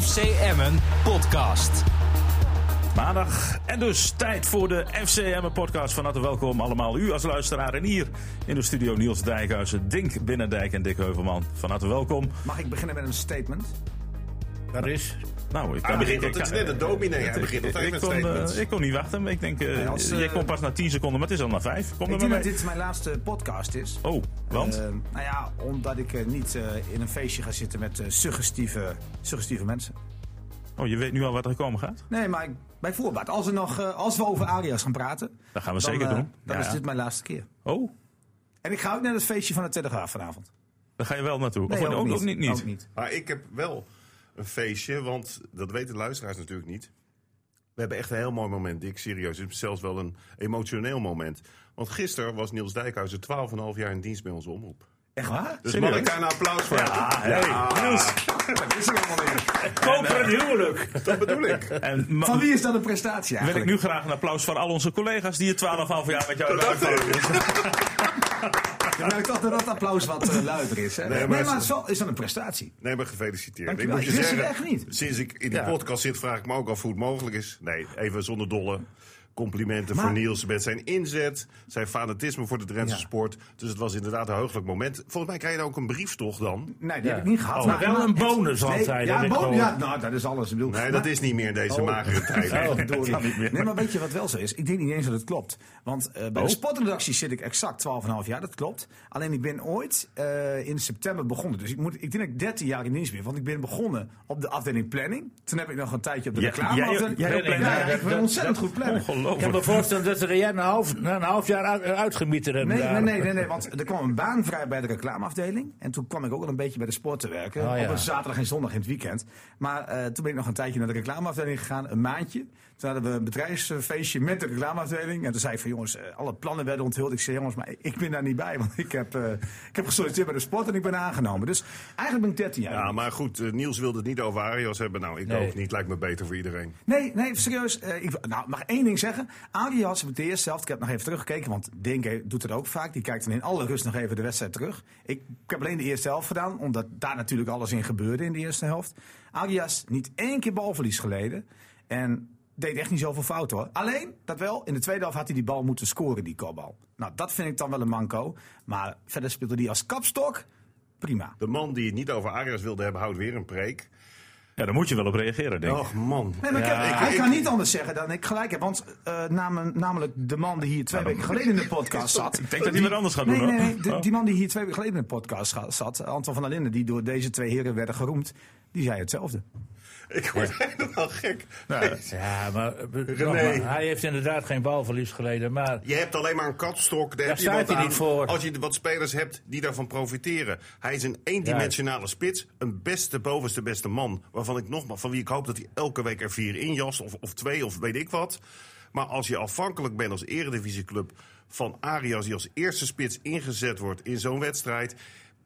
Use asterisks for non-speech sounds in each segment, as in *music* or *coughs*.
FC Emmen podcast. Maandag. En dus tijd voor de FCM podcast. Van harte welkom allemaal u als luisteraar. En hier in de studio Niels Dijkhuizen, Dink Binnendijk en Dick Heuvelman. Van harte welkom. Mag ik beginnen met een statement? Dat is. Nou, ik Hij begint, ik- want het is ik- net een dominee. *laughs* Hij begint ik, altijd ik, met kon, statements. eh, ik kon niet wachten. maar Ik denk, eh Nee, als, jij eh, kon pas na 10 seconden, maar het is al na 5. Kom er Ik maar denk mee. dat dit mijn laatste podcast is. Oh, want? Eh, nou ja, omdat ik eh, niet eh, in een feestje ga zitten met eh, suggestieve, suggestieve mensen. oh, je weet nu al wat er komen gaat? Nee, maar ik- bij voorbaat. Als, er nog, eh, als we over Arias gaan praten. Dat gaan we zeker eh, doen. Dan Ja, is ja. dit mijn laatste keer. Oh, En ik ga ook naar het feestje van de Telegraaf vanavond. daar ga je wel naartoe. of ook, ook niet. niet. Ook niet. Maar ik heb wel een feestje, want dat weten de luisteraars natuurlijk niet. We hebben echt een heel mooi moment, Dick, serieus. Het is zelfs wel een emotioneel moment. Want gisteren was Niels Dijkhuizen 12,5 jaar in dienst bij onze omroep. Echt waar? Ah, Dus Serieus? mag ik daar een applaus voor hebben? hey, Niels, Dat is er allemaal weer. koper een huwelijk. Dat bedoel ik. En ma- Van wie is dat een prestatie wil ik eigenlijk? nu graag een applaus voor al onze collega's die het 12,5 jaar met jou Dat hebben dacht ik. Ik merk toch dat dat applaus wat eh, luider is. Hè? Nee, Nee, maar maar, het is- het is, wel, is dat een prestatie? Nee, maar gefeliciteerd. Dankjewel. moet je Ik wist zeggen, het echt niet. Sinds ik in die Ja. podcast zit, vraag ik me ook af hoe het mogelijk is. Nee, even zonder dolle. Complimenten Maar- voor Niels met zijn inzet, zijn fanatisme voor de Drentse Ja. sport. Dus het was inderdaad een heugelijk moment. Volgens mij krijg je dan ook een brief toch dan? Nee, die heb ik niet gehad. Oh, wel een bonus nee, had hij, dat Ja, heb ik bonus. gehoord. Ja, nou, dat is alles. Ik bedoel, Nee, maar- dat is niet meer in Oh. deze *laughs* magere tijd. *laughs* Verdorie. kan Oh. niet meer. Nee, maar weet je wat wel zo is? Ik denk niet eens dat het klopt. Want eh, bij Oh. de sportredactie zit ik exact 12,5 jaar, dat klopt. Alleen ik ben ooit eh, in september begonnen. Dus ik, moet, ik denk dat ik 13 jaar in dienst ben. Want ik ben begonnen op de afdeling planning. Toen heb ik nog een tijdje op de Ja, reclame. jij- afdeling- jij ook Ja, planner. ja, ik Dat- ben ontzettend goed plannen. Ik heb Ongelooflijk. me voorgesteld dat ze er jij een half, na een half jaar uit, uitgemieterd hebben. Nee, nee, daar. nee, nee, nee, want er kwam een baan vrij bij de reclameafdeling. En toen kwam ik ook al een beetje bij de sport te werken. Oh, ja. Op een zaterdag en zondag in het weekend. Maar eh, toen ben ik nog een tijdje naar de reclameafdeling gegaan, een maandje. Toen hadden we een bedrijfsfeestje met de reclameafdeling. En toen zei ik van jongens, eh, alle plannen werden onthuld. Ik zei jongens, maar ik ben daar niet bij, want ik heb, eh, ik heb gesolliciteerd bij de sport en ik ben aangenomen. Dus eigenlijk ben ik 13 jaar. Nou, Ja, maar goed, eh, Niels wilde het niet over Arias hebben. Nou, ik Nee. ook niet. Lijkt me beter voor iedereen. Nee, nee, serieus. eh, ik, nou, ik mag één ding zeggen. Arias met de eerste helft, ik heb nog even teruggekeken, want Denk he- doet het ook vaak. Die kijkt dan in alle rust nog even de wedstrijd terug. Ik, ik heb alleen de eerste helft gedaan, omdat daar natuurlijk alles in gebeurde in de eerste helft. Arias niet één keer balverlies geleden en deed echt niet zoveel fouten hoor. Alleen, dat wel, in de tweede helft had hij die bal moeten scoren, die kopbal. Nou, dat vind ik dan wel een manco. Maar verder speelde hij als kapstok prima. De man die het niet over Arias wilde hebben, houdt weer een preek. Ja, daar moet je wel op reageren, denk ik. Och man. Nee, maar ik heb- Ja, hij ik- kan ik- niet anders zeggen dan ik gelijk heb. Want eh, nam- namelijk de man die hier twee weken geleden in de podcast *laughs* zat. Ik denk dat hij wat anders gaat doen, Nee, nee, hoor. nee. de- Oh. die man die hier twee weken geleden in de podcast ga- zat, Anton van der Linden, die door deze twee heren werden geroemd, die zei hetzelfde. Oh, Ik word *laughs* helemaal gek. Nou, Ja, maar, eh, nogmaals, hij heeft inderdaad geen balverlies geleden. Maar Je hebt alleen maar een katstok. Daar, heb je staat wat hij aan niet voor. Als je wat spelers hebt die daarvan profiteren. Hij is een eendimensionale spits. Een beste, bovenste beste man. Waarvan ik nogmaals, van wie ik hoop dat hij elke week er vier injast. Of, of twee, of weet ik wat. Maar als je afhankelijk bent als eredivisieclub van Arias... die als eerste spits ingezet wordt in zo'n wedstrijd...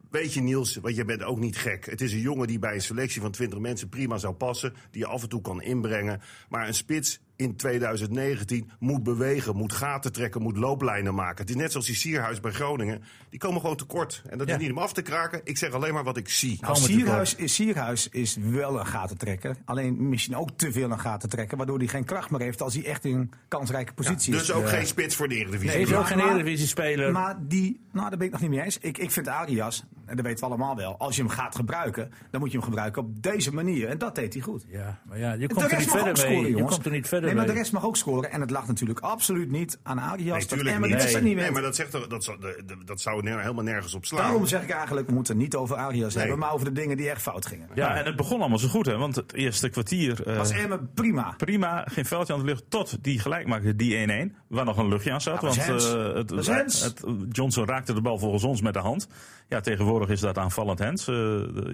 Weet je, Niels, want je bent ook niet gek. Het is een jongen die bij een selectie van 20 mensen prima zou passen. Die je af en toe kan inbrengen. Maar een spits in 2019 moet bewegen, moet gaten trekken, moet looplijnen maken. Het is net zoals die Sierhuis bij Groningen. Die komen gewoon tekort. En dat Ja. is niet om af te kraken. Ik zeg alleen maar wat ik zie. Nou, Komen Sierhuis, is- Sierhuis is wel een gatentrekker. Alleen misschien ook te veel een gatentrekker. Waardoor hij geen kracht meer heeft als hij echt in een kansrijke positie is. Dus ook Eh, geen spits voor de Eredivisie. hij is maar- ook geen maar- Eredivisie-speler. Maar die, nou, daar ben ik nog niet mee eens. Ik, ik vind Arias, en dat weten we allemaal wel, als je hem gaat gebruiken, dan moet je hem gebruiken op deze manier. En dat deed hij goed. ja, maar ja, je De komt er rest niet mag ook verder mee. scoren, Je jongens. komt er niet verder nee, maar de mee. rest mag ook scoren. En het lag natuurlijk absoluut niet aan Arias. Nee, dat tuurlijk Emma niet. dit Nee, zijn niet nee, wint. maar dat, zegt, toch- dat, zou- de- de- dat zou ne- helemaal nergens op slaan. Daarom zeg ik eigenlijk, we moeten het niet over Arias Nee. hebben, maar over de dingen die echt fout gingen. Ja, en het begon allemaal zo goed, hè? Want het eerste kwartier. eh, Was Emma prima. Prima, geen veldje aan de lucht. Tot die gelijkmaker, die 1-1. Waar nog een luchtje aan zat. Ja, was want Hens. eh, het, Was Hens. het- Johnson raakte de bal volgens ons met de hand. Ja, tegenwoordig is dat aanvallend Hens. Eh,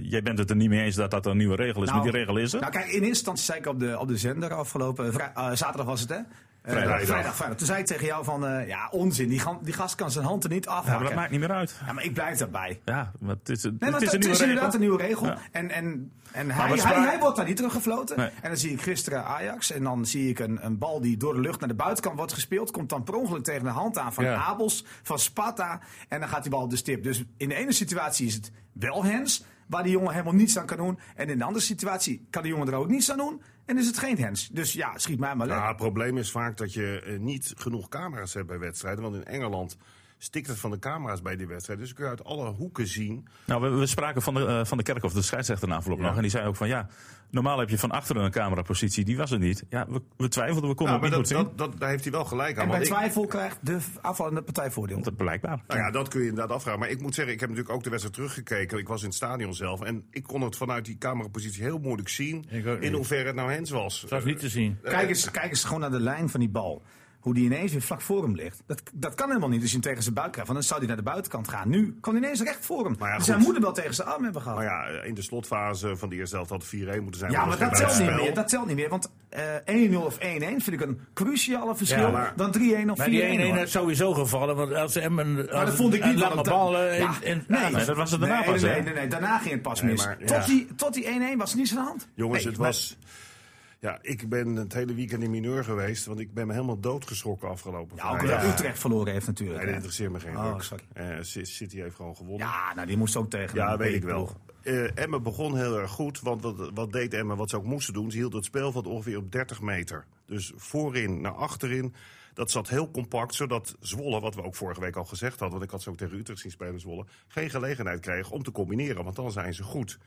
jij bent het er niet mee eens dat dat een nieuwe regel is. Nou, maar die regel is er. Nou kijk, in eerste instantie zei ik op de, op de zender afgelopen... vrij- eh, zaterdag was het, hè? Eh, Vrijdag. vrijdag, vrijdag. Toen zei ik tegen jou van, eh, ja, onzin. Die, gan- die gast kan zijn hand er niet ja, maar afhakken. dat maakt niet meer uit. Ja, maar ik blijf daarbij. Ja, maar het is, Nee, het want is een het nieuwe is inderdaad regel. een nieuwe regel. Ja. En, en, en hij, we hij, spraken- hij wordt daar niet teruggefloten. Nee. En dan zie ik gisteren Ajax. En dan zie ik een, een bal die door de lucht naar de buitenkant wordt gespeeld. Komt dan per ongeluk tegen de hand aan van Ja. Abels, van Sparta. En dan gaat die bal op de stip. Dus in de ene situatie is het wel Hens. waar die jongen helemaal niets aan kan doen. En in een andere situatie kan die jongen er ook niets aan doen. En is het geen hens. Dus ja, schiet mij maar Ja, lekker. Nou, het probleem is vaak dat je eh, niet genoeg camera's hebt bij wedstrijden. Want in Engeland stikt het van de camera's bij die wedstrijden. Dus kun je uit alle hoeken zien. Nou, we, we spraken van de, eh, van de Kerkhof, de scheidsrechter na afloop Ja. nog. En die zei ook van ja, normaal heb je van achteren een camerapositie. Die was er niet. Ja, we, we twijfelden, we konden Nou, maar het dat, niet goed zien. dat, dat, daar heeft hij wel gelijk aan. En bij want ik- twijfel krijgt de afvallende partij voordeel. Dat blijkbaar. Nou ja, dat kun je inderdaad afvragen. Maar ik moet zeggen, ik heb natuurlijk ook de wedstrijd teruggekeken. Ik was in het stadion zelf. En ik kon het vanuit die camerapositie heel moeilijk zien. Ik ook niet. In hoeverre het nou Hens was. Dat is niet te zien. Kijk eens, kijk eens gewoon naar de lijn van die bal. Hoe die ineens weer vlak voor hem ligt. Dat, dat kan helemaal niet als je hem tegen zijn buik krijgt. Want dan zou hij naar de buitenkant gaan. Nu kwam hij ineens recht voor hem. Maar ja, dus hij goed. moet hem wel tegen zijn arm hebben gehad. Maar Nou ja, in de slotfase van de eerste helft had het 4-1 moeten zijn. Ja, maar dat telt niet buitenspel. meer. Dat telt niet meer. Want eh 1-0 of 1-1 vind ik een cruciale verschil Ja, maar- dan 3-1 of 4-1. Maar die 1-1 hoor. is sowieso gevallen, want als Emmen... Maar dat vond ik niet. Lange want dat- eh, ballen in, Ja, in- nee, aan- nee, dat was het daarna nee, pas, Nee, hè? nee, nee, daarna ging het pas Nee, mis. maar, ja. Tot die- Tot die 1-1 was niets aan de hand. Jongens, Nee, het maar- was. Ja, ik ben het hele weekend in mineur geweest, want ik ben me helemaal doodgeschrokken afgelopen. Ja, ook vrijdag. omdat Utrecht verloren heeft natuurlijk. Nee, dat interesseert me geen Nou, Oh, ruk. sorry. Eh, C- City heeft gewoon gewonnen. ja, nou die moest ook tegen. Ja, een weet ik betere wel. ploeg. Eh Emmen begon heel erg goed, want wat, wat deed Emmen wat ze ook moesten doen? Ze hield het speelveld ongeveer op 30 meter. Dus voorin naar achterin. Dat zat heel compact, zodat Zwolle, wat we ook vorige week al gezegd hadden... want ik had ze ook tegen Utrecht zien spelen, Zwolle... geen gelegenheid kreeg om te combineren, want dan zijn ze goed.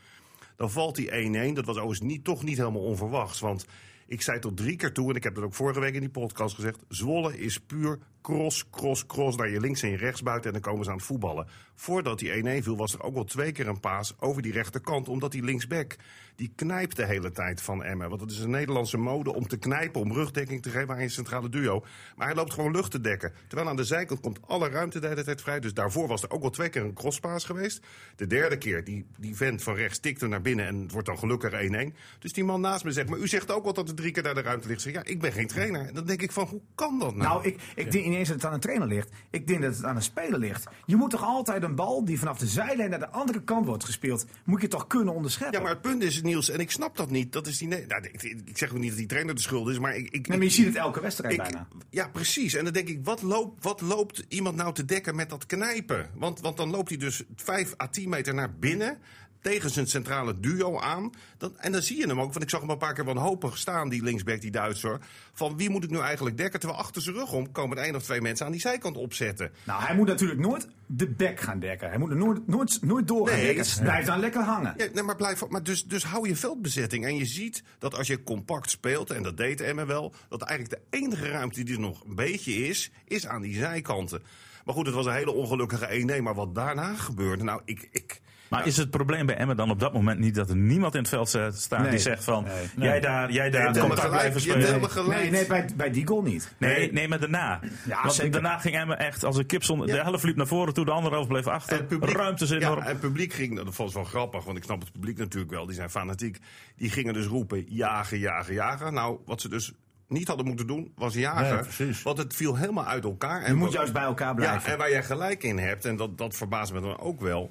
Dan valt die 1-1. Dat was overigens niet, toch niet helemaal onverwachts. Want ik zei tot drie keer toe, en ik heb dat ook vorige week in die podcast gezegd... Zwolle is puur cross, cross, cross naar je links en je rechts buiten... en dan komen ze aan het voetballen. Voordat die 1-1 viel was er ook wel twee keer een paas over die rechterkant... omdat die linksback, die knijpt de hele tijd van Emmen. Want het is een Nederlandse mode om te knijpen... om rugdekking te geven aan je centrale duo. Maar hij loopt gewoon lucht te dekken. Terwijl aan de zijkant komt alle ruimte de hele tijd vrij. Dus daarvoor was er ook wel twee keer een crosspaas geweest. De derde keer, die, die vent van rechts tikte naar binnen en het wordt dan gelukkig 1-1. Dus die man naast me zegt, maar u zegt ook wel dat er drie keer daar de ruimte ligt. Ik zeg, ja, ik ben geen trainer. En dan denk ik van, hoe kan dat nou? Nou, ik, ik denk ineens dat het aan een trainer ligt. Ik denk dat het aan een speler ligt. Je moet toch altijd een bal die vanaf de zijlijn naar de andere kant wordt gespeeld, moet je toch kunnen onderscheppen? ja, maar het punt is, Niels, en ik snap dat niet. Dat is die, ne- nou, ik, ik zeg ook niet dat die trainer de schuld is, maar ik... ik Nee, maar je ziet het elke wedstrijd Ik- bijna. ja, precies. En dan denk ik, wat, loopt wat loopt iemand nou te dekken met dat knijpen? Want, want dan loopt hij dus 5 à 10 meter naar binnen tegen zijn centrale duo aan. Dan, en dan zie je hem ook, want ik zag hem een paar keer wanhopig staan, die linksback, die Duitser. Van wie moet ik nu eigenlijk dekken? Terwijl achter zijn rug om komen er één of twee mensen aan die zijkant opzetten. Nou, hij moet natuurlijk nooit de bek gaan dekken. Hij moet er nooit, nooit, nooit door gaan Nee, dekken. het- Blijf dan lekker hangen. Ja, nee, maar blijf, maar dus, dus hou je veldbezetting. En je ziet dat als je compact speelt, en dat deed Emmen wel, dat eigenlijk de enige ruimte die er nog een beetje is, is aan die zijkanten. Maar goed, het was een hele ongelukkige 1-1. Maar wat daarna gebeurde, nou, ik. ik Maar is het probleem bij Emmen dan op dat moment niet dat er niemand in het veld eh, staat Nee. die zegt van Nee. jij daar, jij Je daar, hebt helemaal contact gelijk, blijven je hebt spelen. helemaal gelijk. Nee, nee bij, bij die goal niet. Nee, nee, maar daarna. Ja, Want zeker. daarna ging Emmen echt als een kip zonder. De helft liep naar voren toe, de andere helft bleef achter. Ruimtes ja, enorm. en het publiek ging, nou, dat vond ik wel grappig, want ik snap het publiek natuurlijk wel, die zijn fanatiek. Die gingen dus roepen, jagen, jagen, jagen. Nou, wat ze dus niet hadden moeten doen, was Nee, jagen. precies. want het viel helemaal uit elkaar. Je moet juist bij elkaar blijven. Ja, en waar jij gelijk in hebt, en dat, dat verbaast me dan ook wel.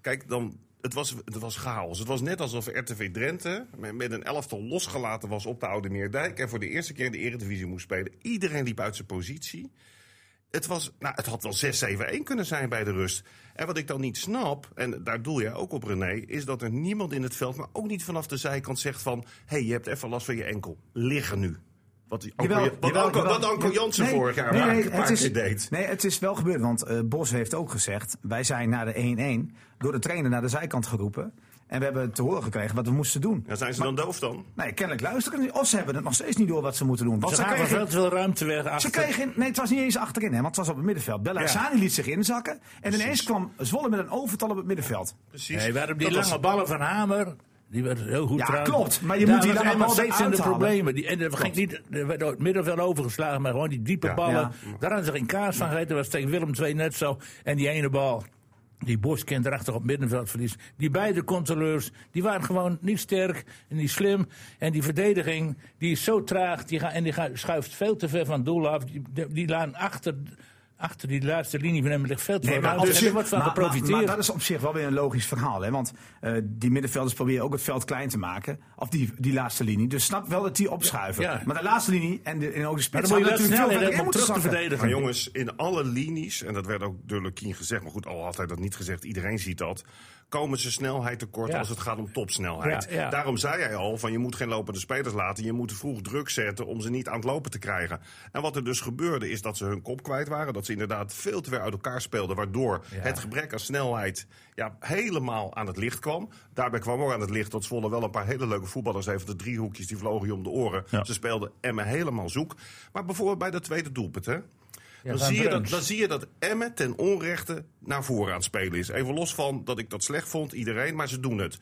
Kijk, dan, het, was, het was chaos. Het was net alsof RTV Drenthe met, met een elftal losgelaten was op de Oude Meerdijk. En voor de eerste keer in de Eredivisie moest spelen. Iedereen liep uit zijn positie. Het, was, nou, het had wel 6-7-1 kunnen zijn bij de rust. En wat ik dan niet snap, en daar doel jij ook op René... is dat er niemand in het veld, maar ook niet vanaf de zijkant zegt van... hé, hey, je hebt even last van je enkel. Liggen nu. Wat, die- Jawel, wat, jawel, Anko- jawel. wat Anko Jansen Nee, vorig jaar nee, maar nee, een paar het is- keer deed. Nee, het is wel gebeurd, want eh, Bos heeft ook gezegd... wij zijn na de 1-1 door de trainer naar de zijkant geroepen... en we hebben te horen gekregen wat we moesten doen. Ja, zijn ze dan doof dan? Nee, kennelijk luisteren ze niet. Of ze hebben het nog steeds niet door wat ze moeten doen. Want Ze ze, gaven kregen, veel te veel ruimte weg ze achter. kregen... Nee, het was niet eens achterin, hè, want het was op het middenveld. Bella liet zich inzakken. En ineens kwam Zwolle met een overtal op het middenveld. Precies. Nee, we hadden die Dat was- lange ballen van Hamer. Die werd heel goed Ja, trouwens. klopt, maar je Daar moet die was lange Emmen bal steeds in eruit de halen. problemen. Die, en er, ging niet, er werd door het middenveld overgeslagen, maar gewoon die diepe Ja. ballen. Ja. Daar hadden ze geen kaas van gegeten. Dat was tegen Willem II net zo. En die ene bal. Die Boskind erachter op middenveld verliest. Die beide controleurs, die waren gewoon niet sterk en niet slim. En die verdediging, die is zo traag. Die ga, en die ga- schuift veel te ver van het doel af. Die, die laan achter achter die laatste linie van hem ligt veel te Nee, veel maar ruimte. op en zich- er wordt van maar- maar- geprofiteerd. Maar, dat is op zich wel weer een logisch verhaal. Hè? Want eh, die middenvelders proberen ook het veld klein te maken. Of die, die laatste linie. Dus snap wel dat die opschuiven. Ja. Maar de laatste linie en, de, en ook de Maar spits dan moet je wel zouden snel natuurlijk veel verder in hebben in om moeten terug te zakken. verdedigen. Maar jongens, in alle linies, en dat werd ook door Lukien gezegd, maar goed, al had hij dat niet gezegd, iedereen ziet dat. Komen ze snelheid tekort Ja. als het gaat om topsnelheid. Ja, ja. Daarom zei hij al: van je moet geen lopende spelers laten. Je moet vroeg druk zetten om ze niet aan het lopen te krijgen. En wat er dus gebeurde, is dat ze hun kop kwijt waren. Dat ze inderdaad veel te ver uit elkaar speelden. Waardoor het gebrek aan snelheid ja, helemaal aan het licht kwam. Daarbij kwam ook aan het licht dat Zwolle wel een paar hele leuke voetballers heeft. De driehoekjes die vlogen je om de oren. Ja. Ze speelden Emmen helemaal zoek. Maar bijvoorbeeld bij dat tweede doelpunt, hè? dan, van zie je dat, Bruns. dan zie je dat Emmen ten onrechte naar voren aan het spelen is. Even los van dat ik dat slecht vond, iedereen, maar ze doen het.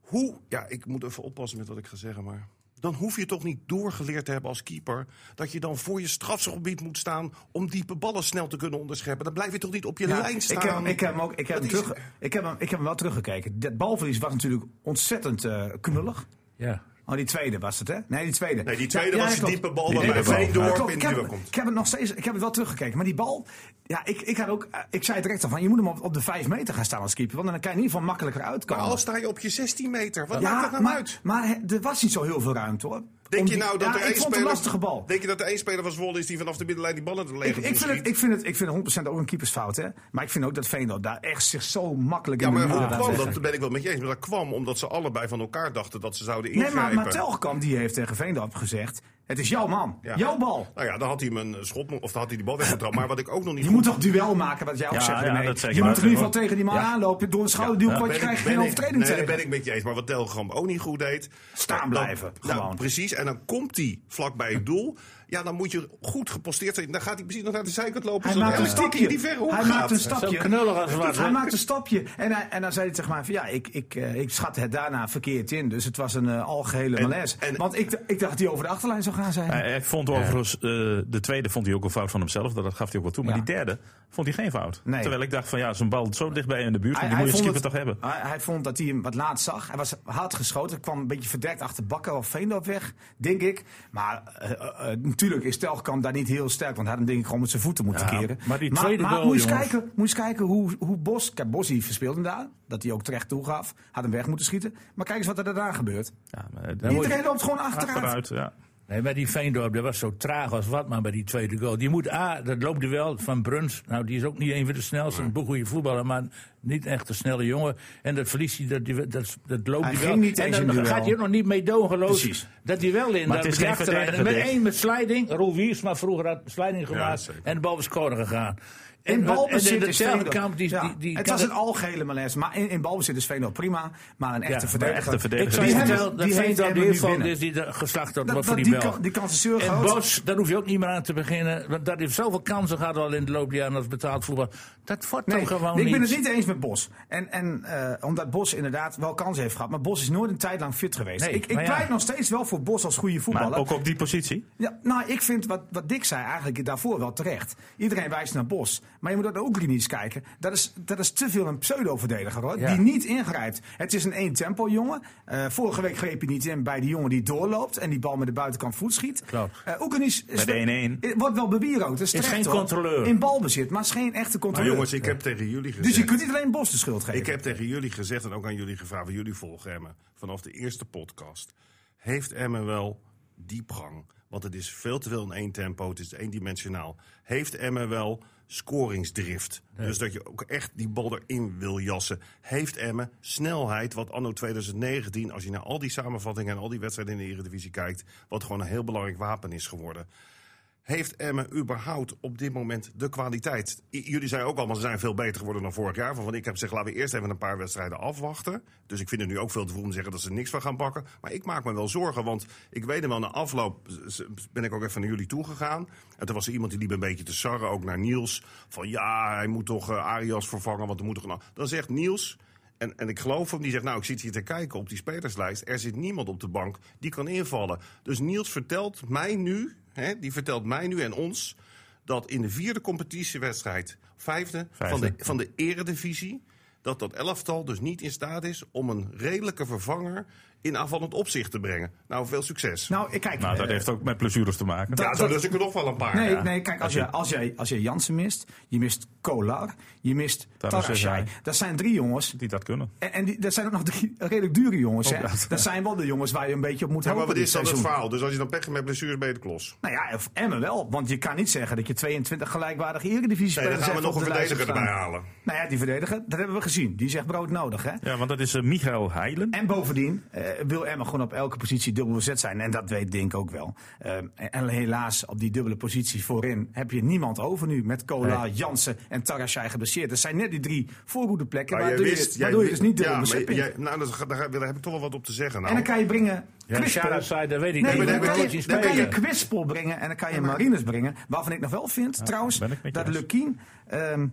Hoe, ja, ik moet even oppassen met wat ik ga zeggen, maar... dan hoef je toch niet doorgeleerd te hebben als keeper... dat je dan voor je strafschopgebied moet staan... om diepe ballen snel te kunnen onderscheppen. Dan blijf je toch niet op je Ja, lijn staan? ik heb, ik heb hem ook, ik heb Dat hem is- terug, ik heb hem, ik heb hem wel teruggekeken. Dat balverlies was natuurlijk ontzettend eh, knullig. Ja. Oh, die tweede was het, hè? Nee, die tweede. Nee, die tweede was die klopt. diepe bal Die waarbij diepe bal. Veendorp Ja, klopt. in ik de heb, duel komt. Ik heb het nog steeds, ik heb het wel teruggekeken. Maar die bal, ja, ik, ik, had ook, eh, ik zei het direct al van, je moet hem op, op de vijf meter gaan staan als keeper. Want dan kan je in ieder geval makkelijker uitkomen. Maar al sta je op je 16 meter, wat maakt ja, dat nou maar, uit? maar he- er was niet zo heel veel ruimte, hoor. Om Denk je die- nou dat ja, er één ik vond het speler- een lastige bal. Denk je dat er één speler van Zwolle is die vanaf de middenlijn die ballen te Ik, lege ik, vind het, ik, vind het, ik vind het 100% ook een keepersfout, hè. Maar ik vind ook dat Veendorp daar echt zich zo makkelijk Ja, in de maar hoe muren laat kwam leggen. dat? Dat ben ik wel met je eens. Maar dat kwam omdat ze allebei van elkaar dachten dat ze zouden Nee, ingrijpen. maar, maar Telkamp die heeft tegen Veendorp gezegd, het is jouw man, Ja. jouw bal. Nou ja, dan had hij hem een schop, mo- of dan had hij die bal *coughs* weggetrapt. Maar wat ik ook nog niet Je goed- moet toch duel maken, wat jij ook Ja, zegt. ja, René. dat zeg ik je moet maar. er in ieder geval tegen die man aanlopen. Door een schouderduw, Ja, want ben je ik- krijgt ben geen ik- overtreding nee, tegen. daar ben ik met je eens. Maar wat Telgram ook niet goed deed. Staan dan- blijven, Nou, gewoon. precies. En dan komt hij vlak bij het doel. Ja, dan moet je goed geposteerd zijn. Dan gaat hij precies nog naar de zijkant lopen. Hij zodat maakt een elke keer stapje. Die verre hoek Hij gaat. maakt een stapje. Zo knullig als het was, Hij hè? maakt een stapje. En, hij- en dan zei hij tegen mij: van, Ja, ik, ik, eh, ik schat het daarna verkeerd in. Dus het was een eh, algehele malaise. en- Want ik, d- ik dacht dat hij over de achterlijn zou gaan zijn. Hij, hij vond overigens, eh, de tweede vond hij ook een fout van hemzelf. Dat dat gaf hij ook wel toe. Maar Ja. die derde vond hij geen fout. Nee. Terwijl ik dacht van ja, zo'n bal zo dichtbij in de buurt. Hij- die hij moet je als vond keeper toch hebben. Hij, hij vond dat hij hem wat laat zag. Hij was hard geschoten. kwam een beetje verdekt achter Bakker of Veendorp weg, denk ik. Maar eh, eh, eh, natuurlijk is Telkamp daar niet heel sterk. Want hij had hem denk ik gewoon met zijn voeten moeten Ja, keren. maar die tweede maar, goal, moet je eens jongens. kijken, moet je eens kijken hoe, hoe Bos... Kijk, Bos die verspeelde hem daar. Dat hij ook terecht toegaf. Had hem weg moeten schieten. Maar kijk eens wat er daarna gebeurt. Ja, maar, eh, moet je Iedereen loopt gewoon achteruit. achteruit. Ja. Nee, maar die Veendorp, dat was zo traag als wat, maar bij die tweede goal. Die moet A, dat loopt er wel, van Bruns. Nou, die is ook niet een van de snelste, een goede voetballer, maar niet echt een snelle jongen. En dat verliest hij, dat, die- dat, dat loopt Hij hij ging wel. niet en eens in dan duel. gaat hij ook nog niet mee dogenloos. Precies. Dat hij wel in Maar dat het is geen achterlijn. verdediger, Met Dick. één met slijding. Roel Wiersma vroeger had slijding gemaakt zeker. en de bal was corner gegaan. In balbezit en de is derde Veendorp- kamp, die, Ja, die, die het kan was een algehele malaise. Maar in, in balbezit is Veendorp prima. Maar een maar echte een verdediger. echte Ik verdediger. zou je Die hebben- vertellen dat die heeft Veendorp Emmen de nu van binnen. is die er geslacht had Dat- wordt dat voor die die, bel. kan- die kans is zeer En groot. Bos, daar hoef je ook niet meer aan te beginnen. Want dat heeft zoveel kansen gehad al in de loop der jaren als betaald voetbal. Dat wordt Nee, toch gewoon ik ben niet. het niet eens met Bos. En, en eh, omdat Bos inderdaad wel kansen heeft gehad. Maar Bos is nooit een tijd lang fit geweest. Nee, ik ik maar ja. pleit nog steeds wel voor Bos als goede voetballer. Maar ook op die positie. ja, nou, ik vind wat, wat Dick zei eigenlijk daarvoor wel terecht. Iedereen wijst naar Bos. Maar je moet ook naar ook linies kijken. Dat is, dat is te veel een pseudo-verdediger hoor. Ja. Die niet ingrijpt. Het is een één tempo jongen. Eh, vorige week greep hij niet in bij die jongen die doorloopt. En die bal met de buitenkant voet schiet. Klopt. Eh, Oekraïns is- Bij de 1-1. eh, Wordt wel bewierookt. Dat is, Is terecht, geen hoor. controleur. In balbezit. Maar is geen echte Maar controleur. jongens, ik heb tegen jullie gezegd... Dus je kunt niet alleen Bos de schuld geven. Ik heb tegen jullie gezegd en ook aan jullie gevraagd, want jullie volgen Emmen vanaf de eerste podcast. Heeft Emmen wel diepgang? Want het is veel te veel in één tempo, het is eendimensionaal. Heeft Emmen wel scoringsdrift? Dus dat je ook echt die bal erin wil jassen. Heeft Emmen snelheid, wat anno 2019, als je naar al die samenvattingen en al die wedstrijden in de Eredivisie kijkt, wat gewoon een heel belangrijk wapen is geworden. Heeft Emmen überhaupt op dit moment de kwaliteit? I- jullie zeiden ook allemaal, ze zijn veel beter geworden dan vorig jaar. Want ik heb gezegd, laten we eerst even een paar wedstrijden afwachten. Dus ik vind het nu ook veel te vroeg om te zeggen dat ze er niks van gaan pakken. Maar ik maak me wel zorgen, want ik weet hem wel, na afloop z- z- ben ik ook even naar jullie toegegaan. En toen was er iemand die liep een beetje te sarren, ook naar Niels. Van ja, hij moet toch eh, Arias vervangen, want er moet toch... een a- Dan zegt Niels, en, en ik geloof hem, die zegt, nou, ik zit hier te kijken op die spelerslijst. Er zit niemand op de bank die kan invallen. Dus Niels vertelt mij nu, hè, die vertelt mij nu en ons... dat in de vierde competitiewedstrijd, vijfde, Vijfde. Van, de, van de eredivisie... dat dat elftal dus niet in staat is om een redelijke vervanger in aanvallend opzicht te brengen. Nou, veel succes. Nou, ik kijk. Nou, dat eh, heeft ook met blessures te maken. ja, zo dus ik er nog wel een paar. Nee, ja. nee, kijk, als, je, als, jij, als jij Jansen mist, je mist Kolar, je mist Tarasevski. Tarasjai. Dat zijn drie jongens. Die dat kunnen. En, en die, dat zijn ook nog drie redelijk dure jongens. Hè? Dat zijn wel de jongens waar je een beetje op moet Oh, Ja, hopen. maar wat dit is dan het seizoen. verhaal? Dus als je dan pech hebt met blessures, ben je de klos. Nou ja, of Emmen wel. Want je kan niet zeggen dat je 22 gelijkwaardige eredivisie Nee, dan gaan we nog een verdediger erbij Nou halen. ja, die verdediger, dat hebben we gezien. Die zegt brood nodig, hè? Ja, want dat is eh, Michael Heilen. En bovendien eh, wil Emma gewoon op elke positie dubbel bezet zijn. En dat weet Dink ook wel. Eh, en- en helaas, op die dubbele positie voorin heb je niemand over nu. Met Kola, Jansen en Tarasjai geblesseerd. Dat zijn net die drie voorgoede plekken. Maar Maar jij doe je, wist- waar jij doe je wist- dus niet dubbel ja, maar bezet. in. jij- Nou, dat ga- daar, ga- daar heb ik toch wel wat op te zeggen. En Nou. dan kan je brengen. Ja, Kwispel. Shara zei, dat weet ik Nee, niet. maar dan dan, maar heb kan je- Coach je, is dan kan spelen. je Kwispel brengen en dan kan je Marines brengen. Waarvan ik nog wel vind, trouwens, ben ik met je dat eens. Lukien ehm,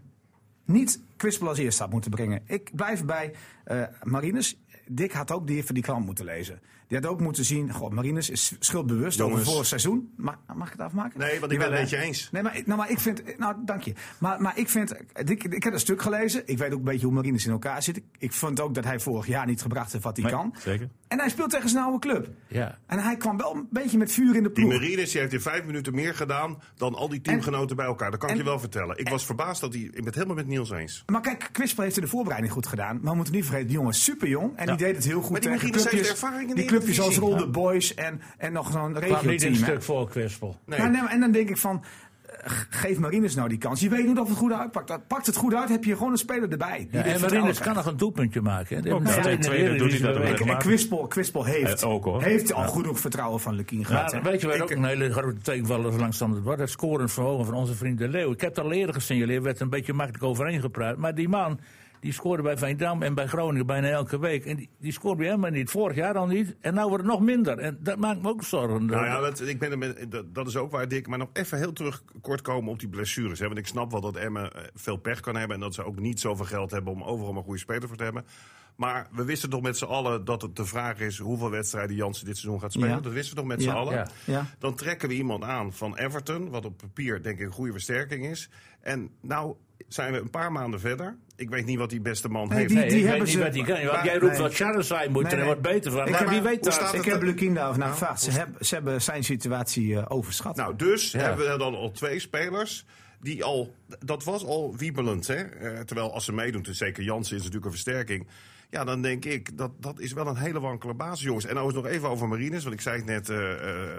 niet Kwispel als eerste had moeten brengen. Ik blijf bij eh Marines. Dick had ook die even die krant moeten lezen. Die had ook moeten zien, god, Marines is schuldbewust Jongens. over vorig seizoen. Mag, mag ik het afmaken? Nee, want ik ben het hè? met je eens. Nee, maar, ik- nou, maar ik vind. Nou, dank je. Maar, maar ik vind. Ik, ik heb een stuk gelezen. Ik weet ook een beetje hoe Marines in elkaar zit. Ik, ik vond ook dat hij vorig jaar niet gebracht heeft wat hij Nee, kan. zeker. En hij speelt tegen zijn oude club. Ja. En hij kwam wel een beetje met vuur in de Die ploeg. Marines die heeft in vijf minuten meer gedaan dan al die teamgenoten bij elkaar. Dat kan ik en- je wel vertellen. Ik was verbaasd dat hij... Ik ben het helemaal met Niels eens. Maar kijk, Quispel heeft in de voorbereiding goed gedaan. Maar we moeten niet vergeten, die jongen is super jong. En die deed het heel goed. Maar die tegen Marines heeft clubjes- ervaring in Die de clubjes als Eredivisie. Roll the Boys en, en nog zo'n kwam niet een regio-team. hè. stuk voor Kwispel. Nee. Nou, nee, maar- en dan denk ik van, eh, ge- geef Marines nou die kans. Je weet niet of het goed uitpakt. Dat- Pakt het goed uit, heb je gewoon een speler erbij. die Ja, dit en vertrouwen Marines kan nog een doelpuntje maken. Hè. Die Ook dat. hebben nog Twee- steeds tweede een doet hij dat Eredivisie ook. beker. krijgt. En Quispel, Quispel heeft, Eh, ook, hoor. heeft al genoeg vertrouwen van Lukien Ja, gehad. hè. weet je waar Ik- ook een hele grote tegenvaller langzaam het wordt? Het scorend vermogen van onze vriend De Leeuw. Ik heb het al eerder gesignaleerd, werd een beetje makkelijk overheen gepraat. Maar die man, die scoorde bij Veendam en bij Groningen bijna elke week. En die, die scoorde bij hem maar niet, vorig jaar al niet. En nou wordt het nog minder. En dat maakt me ook zorgen. Nou ja, dat, ik ben er met, dat, dat is ook waar, Dick. Maar nog even heel terug kort komen op die blessures. Hè? Want ik snap wel dat Emmen eh, veel pech kan hebben. En dat ze ook niet zoveel geld hebben om overal een goede speler voor te hebben. Maar we wisten toch met z'n allen dat het de vraag is hoeveel wedstrijden Jansen dit seizoen gaat spelen. Ja. Dat wisten we toch met Ja, z'n allen. ja, ja. Dan trekken we iemand aan van Everton, wat op papier denk ik een goede versterking is. En nou zijn we een paar maanden verder. Ik weet niet wat die beste man Nee, heeft. die- Nee, ik die weet hebben niet ze- wat die kan. Want Maar- jij roept nee. wat Charles zijn moet Nee, en er nee. wordt beter van. Ik Maar heb- wie hoe weet staat dat? het Ik er- heb Lukien daarover naar gevraagd. Ze, hebben- ze hebben zijn situatie eh, overschat. Nou, dus hebben we dan al twee spelers die al... Dat was al wiebelend, hè? Eh, terwijl als ze meedoen, dus zeker Jansen is natuurlijk een versterking. Ja, dan denk ik, dat, dat is wel een hele wankele basis, jongens. En nou is nog even over Marines, want ik zei het net eh, eh,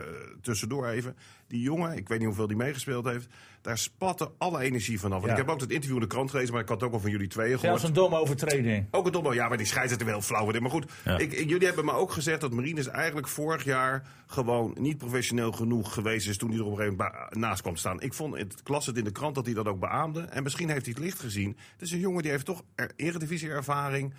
tussendoor even. Die jongen, ik weet niet hoeveel die meegespeeld heeft, daar spatte alle energie vanaf. Want Ja. ik heb ook dat interview in de krant gelezen, maar ik had het ook al van jullie tweeën gehoord. Zelfs een domme overtreding. Ook het domme, ja, maar die scheidsrechter wel flauw. wordt. Maar goed, ik, ik- jullie hebben me ook gezegd dat Marines eigenlijk vorig jaar gewoon niet professioneel genoeg geweest is toen hij er op een gegeven moment ba- naast kwam staan. Ik vond het ik las het in de krant dat hij dat ook beaamde. En misschien heeft hij het licht gezien. Het is een jongen die heeft toch er, eredivisie-ervaring.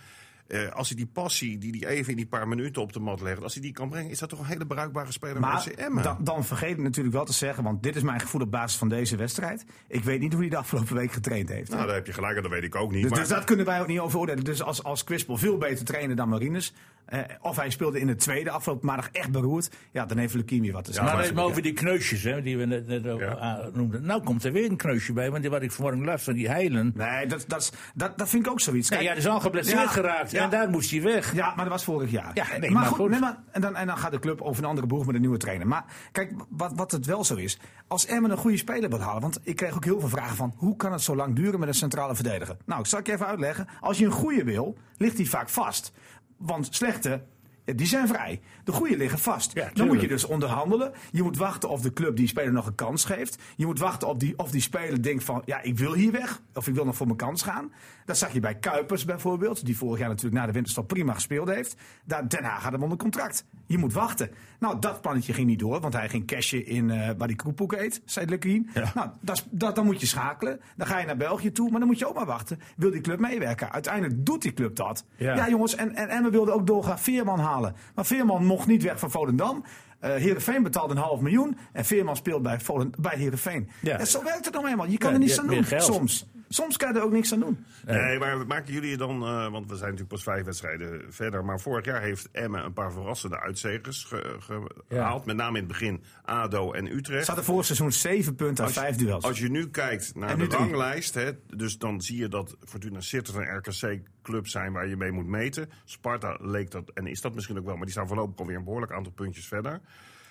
Eh, als hij die passie die hij even in die paar minuten op de mat legt, als hij die kan brengen, is dat toch een hele bruikbare speler Maar voor CM. dan, dan vergeet ik natuurlijk wel te zeggen, want dit is mijn gevoel op basis van deze wedstrijd. Ik weet niet hoe hij de afgelopen week getraind heeft. Nou, daar heb je gelijk, aan, dat weet ik ook niet. dus, maar- dus dat kunnen wij ook niet over oordelen. Dus als, als Quispel veel beter trainen dan Marines, eh, of hij speelde in het tweede afgelopen maandag echt beroerd, ja, dan heeft Lukien weer wat te zeggen. Maar maar- even over die kneusjes hè, die we net, net ook Ja. aan- noemden. Nou komt er weer een kneusje bij, want die wat ik vanmorgen las van die heilen. nee, dat, dat, is- dat, dat vind ik ook zoiets. Nee, ja, dus die is al geblesseerd Ja, geraakt ja. en daar moest hij weg. Ja, maar dat was vorig jaar. Ja, nee, Eh, maar, maar goed, goed. nee, maar, en, dan, en dan gaat de club over een andere boeg met een nieuwe trainer. Maar kijk, wat, wat het wel zo is. Als Emmen een goede speler wil halen. Want ik kreeg ook heel veel vragen van hoe kan het zo lang duren met een centrale verdediger? Nou, ik zal het je even uitleggen. Als je een goede wil, ligt die vaak vast. Want slechte. eh, Die zijn vrij. De goede liggen vast. dan moet je tuurlijk. dus onderhandelen. Je moet wachten of de club die speler nog een kans geeft. Je moet wachten op die, of die speler denkt van... ja, ik wil hier weg. Of ik wil nog voor mijn kans gaan. Dat zag je bij Kuipers bijvoorbeeld. Die vorig jaar natuurlijk na de winterstop prima gespeeld heeft. Daar, Den Haag had hem onder contract. Je moet wachten. Nou, dat plannetje ging niet door. Want hij ging cashen in eh, waar die kroephoek eet, zei Lequien. Nou, dat, is- dat, dan moet je schakelen. Dan ga je naar België toe. Maar dan moet je ook maar wachten. Wil die club meewerken? Uiteindelijk doet die club dat. Ja. ja jongens, en, en, en we wilden ook doorgaan Veerman halen. Maar Veerman mocht niet weg van Volendam. Eh Heerenveen betaalde een half miljoen. En Veerman speelt bij, Volen, bij Heerenveen. Ja. En zo werkt het nou eenmaal. Je kan Ja, er niets je aan hebt doen meer geld. soms. Soms kan je er ook niks aan doen. Nee, maar maken jullie je dan, eh, want we zijn natuurlijk pas vijf wedstrijden verder. Maar vorig jaar heeft Emmen een paar verrassende uitzegers ge- ge- Ja. gehaald. Met name in het begin ADO en Utrecht. Staat er vorig seizoen 7 punten uit 5 duels. Als je nu kijkt naar En de nu drie. ranglijst, hè, dus dan zie je dat Fortuna Sittard en RKC clubs zijn waar je mee moet meten. Sparta leek dat, en is dat misschien ook wel, maar die staan voorlopig alweer een behoorlijk aantal puntjes verder.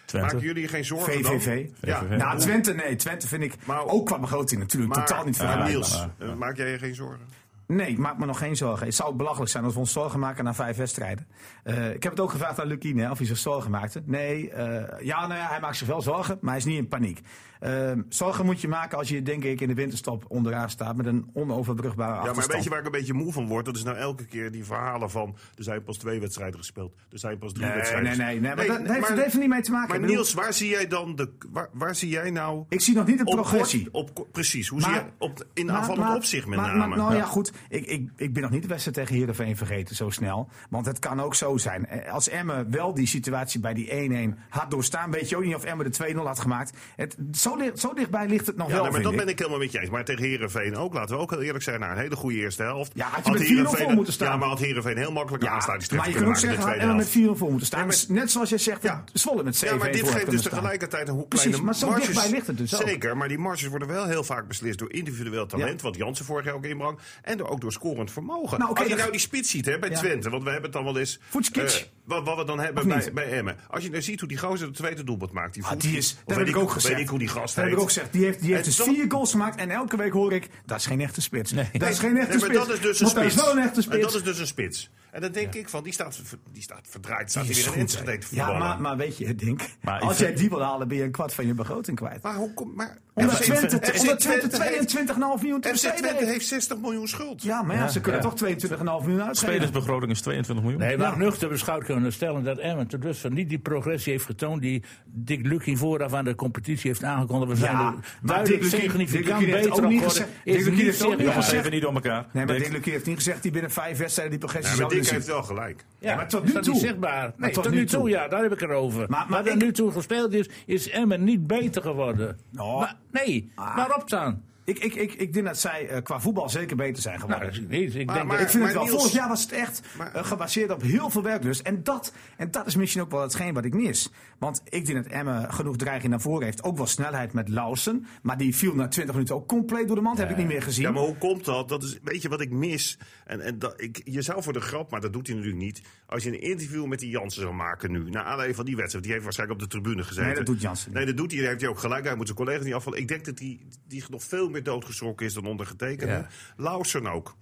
Twente. Maken jullie geen zorgen VVV. dan? Ja, VVV. Nou, Twente, nee. Twente vind ik Maar- ook qua begroting natuurlijk maar, totaal niet maar vergelijkbaar. Niels, eh, maak jij je geen zorgen? Nee, ik maak me nog geen zorgen. Het zou belachelijk zijn als we ons zorgen maken na vijf wedstrijden. Eh, ik heb het ook gevraagd aan Lukien hè, of hij zich zorgen maakte. Nee, eh, ja, nou ja, hij maakt zich wel zorgen, maar hij is niet in paniek. Ehm, zorgen moet je maken als je, denk ik, in de winterstop onderaan staat met een onoverbrugbare Ja, achterstand. maar weet je waar ik een beetje moe van word? Dat is nou elke keer die verhalen van er zijn pas twee wedstrijden gespeeld, er zijn pas drie Nee, wedstrijden. nee, nee, nee, maar dat- dat heeft maar- er even niet mee te maken. Maar Ik bedoel- Niels, waar zie jij dan de, waar, waar zie jij nou Ik zie nog niet een op progressie. kort- op, ko- precies, hoe Maar- zie je op, in Maar- aanvallend maar- opzicht met maar- name? Maar, nou ja, goed. Ik, ik, ik ben nog niet de wedstrijd tegen Heerenveen vergeten zo snel. Want het kan ook zo zijn. Eh, Als Emmen wel die situatie bij die 1-1 had doorstaan... weet je ook niet of Emmen de 2-0 had gemaakt. Het, zo, di- zo dichtbij ligt het nog Ja, wel, nee, maar vind dat ik. ben ik helemaal met je eens. Maar tegen Herenveen ook, laten we ook heel eerlijk zijn, na een hele goede eerste helft. Ja, had je met 4-0 Heerenveen- voor moeten staan. Ja, maar had Herenveen heel makkelijk een Ja, aansluitingstreffer maar je kunt kunnen ook maken in de zeggen, eh, had tweede Emmen met 4-0 helft. voor moeten staan. Ja, maar- Dus Net zoals jij zegt, dat Ja. Zwolle met 7-1 Ja, maar dit voor had geeft dus kunnen staan. tegelijkertijd een hoe Precies, kleine maar zo dichtbij ligt het dus ook. Zeker, maar die marges worden wel heel vaak beslist door individueel talent, Ja. wat Jansen vorig jaar ook inbrang, en door, ook door scorend vermogen. Nou, oké, Als je dat- nou die spits ziet hè, bij Ja. Twente, want we hebben het dan wel eens... Voetskic. eh, wat, wat we dan hebben Of bij, niet? bij Emmen. Als je nou ziet hoe die gozer het tweede doelpunt maakt, die Ah, Voetskic, die is, of dat weet heb ik ook weet gezegd. ik hoe die gast dat heb heet. ik ook gezegd. Die heeft, die heeft En dus toch- vier goals gemaakt. En elke week hoor ik, dat is geen echte spits. Dat is geen echte Nee, maar spits. dat is dus een Want dat spits. is wel een echte En spits. dat is dus een spits. En dan denk ik van, die staat, die staat verdraaid, staat Die hier is in goed, Enschede hè. te voetballen. Ja, maar, maar weet je, Dink, Maar ik als vind- jij die wil halen, ben je een kwart van je begroting kwijt. Maar hoe komt... Maar, Omdat FC Twente, FC omdat Twente Twente heeft- 22,5 miljoen te FC Twente besteden heeft. heeft 60 miljoen schuld. Ja, maar ja, ze kunnen ja. toch 22,5 miljoen uitgeven. Spelersbegroting is 22 miljoen. Nee, maar Ja. nuchter beschouwd kunnen we stellen dat Emmen tot dusver niet die progressie heeft getoond die Dick Lucky vooraf aan de competitie heeft aangekondigd. We zijn Ja, er maar duidelijk Dick Lukien- Dick significant Lukien heeft beter ook op niet geworden. gezegd- Dick Is Lukien niet heeft ook niet Jongens, significant. gezegd- even niet door elkaar. Nee, maar Dick- Dick Lukien heeft niet gezegd die binnen vijf wedstrijden die progressie Ja, maar zouden Dick zien. heeft wel gelijk. Ja, maar tot nu is dat niet toe. zichtbaar. Nee, Maar tot, nu toe, ja, daar heb ik het over. Maar, maar wat er ik- nu toe gespeeld is, is Emmen niet beter geworden. Nou. Maar, nee, Ah. waarop dan? Ik, ik, ik, ik denk dat zij eh, qua voetbal zeker beter zijn geworden. Nou, dat is niet eens. Ik Maar- denk maar- dat ik vind het wel. Niels- Vorig jaar was het echt Maar- eh, gebaseerd op heel veel werklust. En dat, en dat is misschien ook wel hetgeen wat ik mis. Want ik denk dat Emme genoeg dreiging naar voren heeft. Ook wel snelheid met Lausen. Maar die viel na 20 minuten ook compleet door de mand. Heb ik niet meer gezien. Ja, maar hoe komt dat? dat is, weet je wat ik mis? En, en dat, ik, je zou voor de grap, maar dat doet hij natuurlijk niet. Als je een interview met die Jansen zou maken nu. Naar aanleiding van die wedstrijd. Die heeft waarschijnlijk op de tribune gezeten. Nee, dat doet Jansen niet. Nee, dat doet hij. Daar heeft hij ook gelijk. Hij moet zijn collega niet afvallen. Ik denk dat die, die nog veel meer doodgeschrokken is dan ondergetekende. Ja. Lausen ook.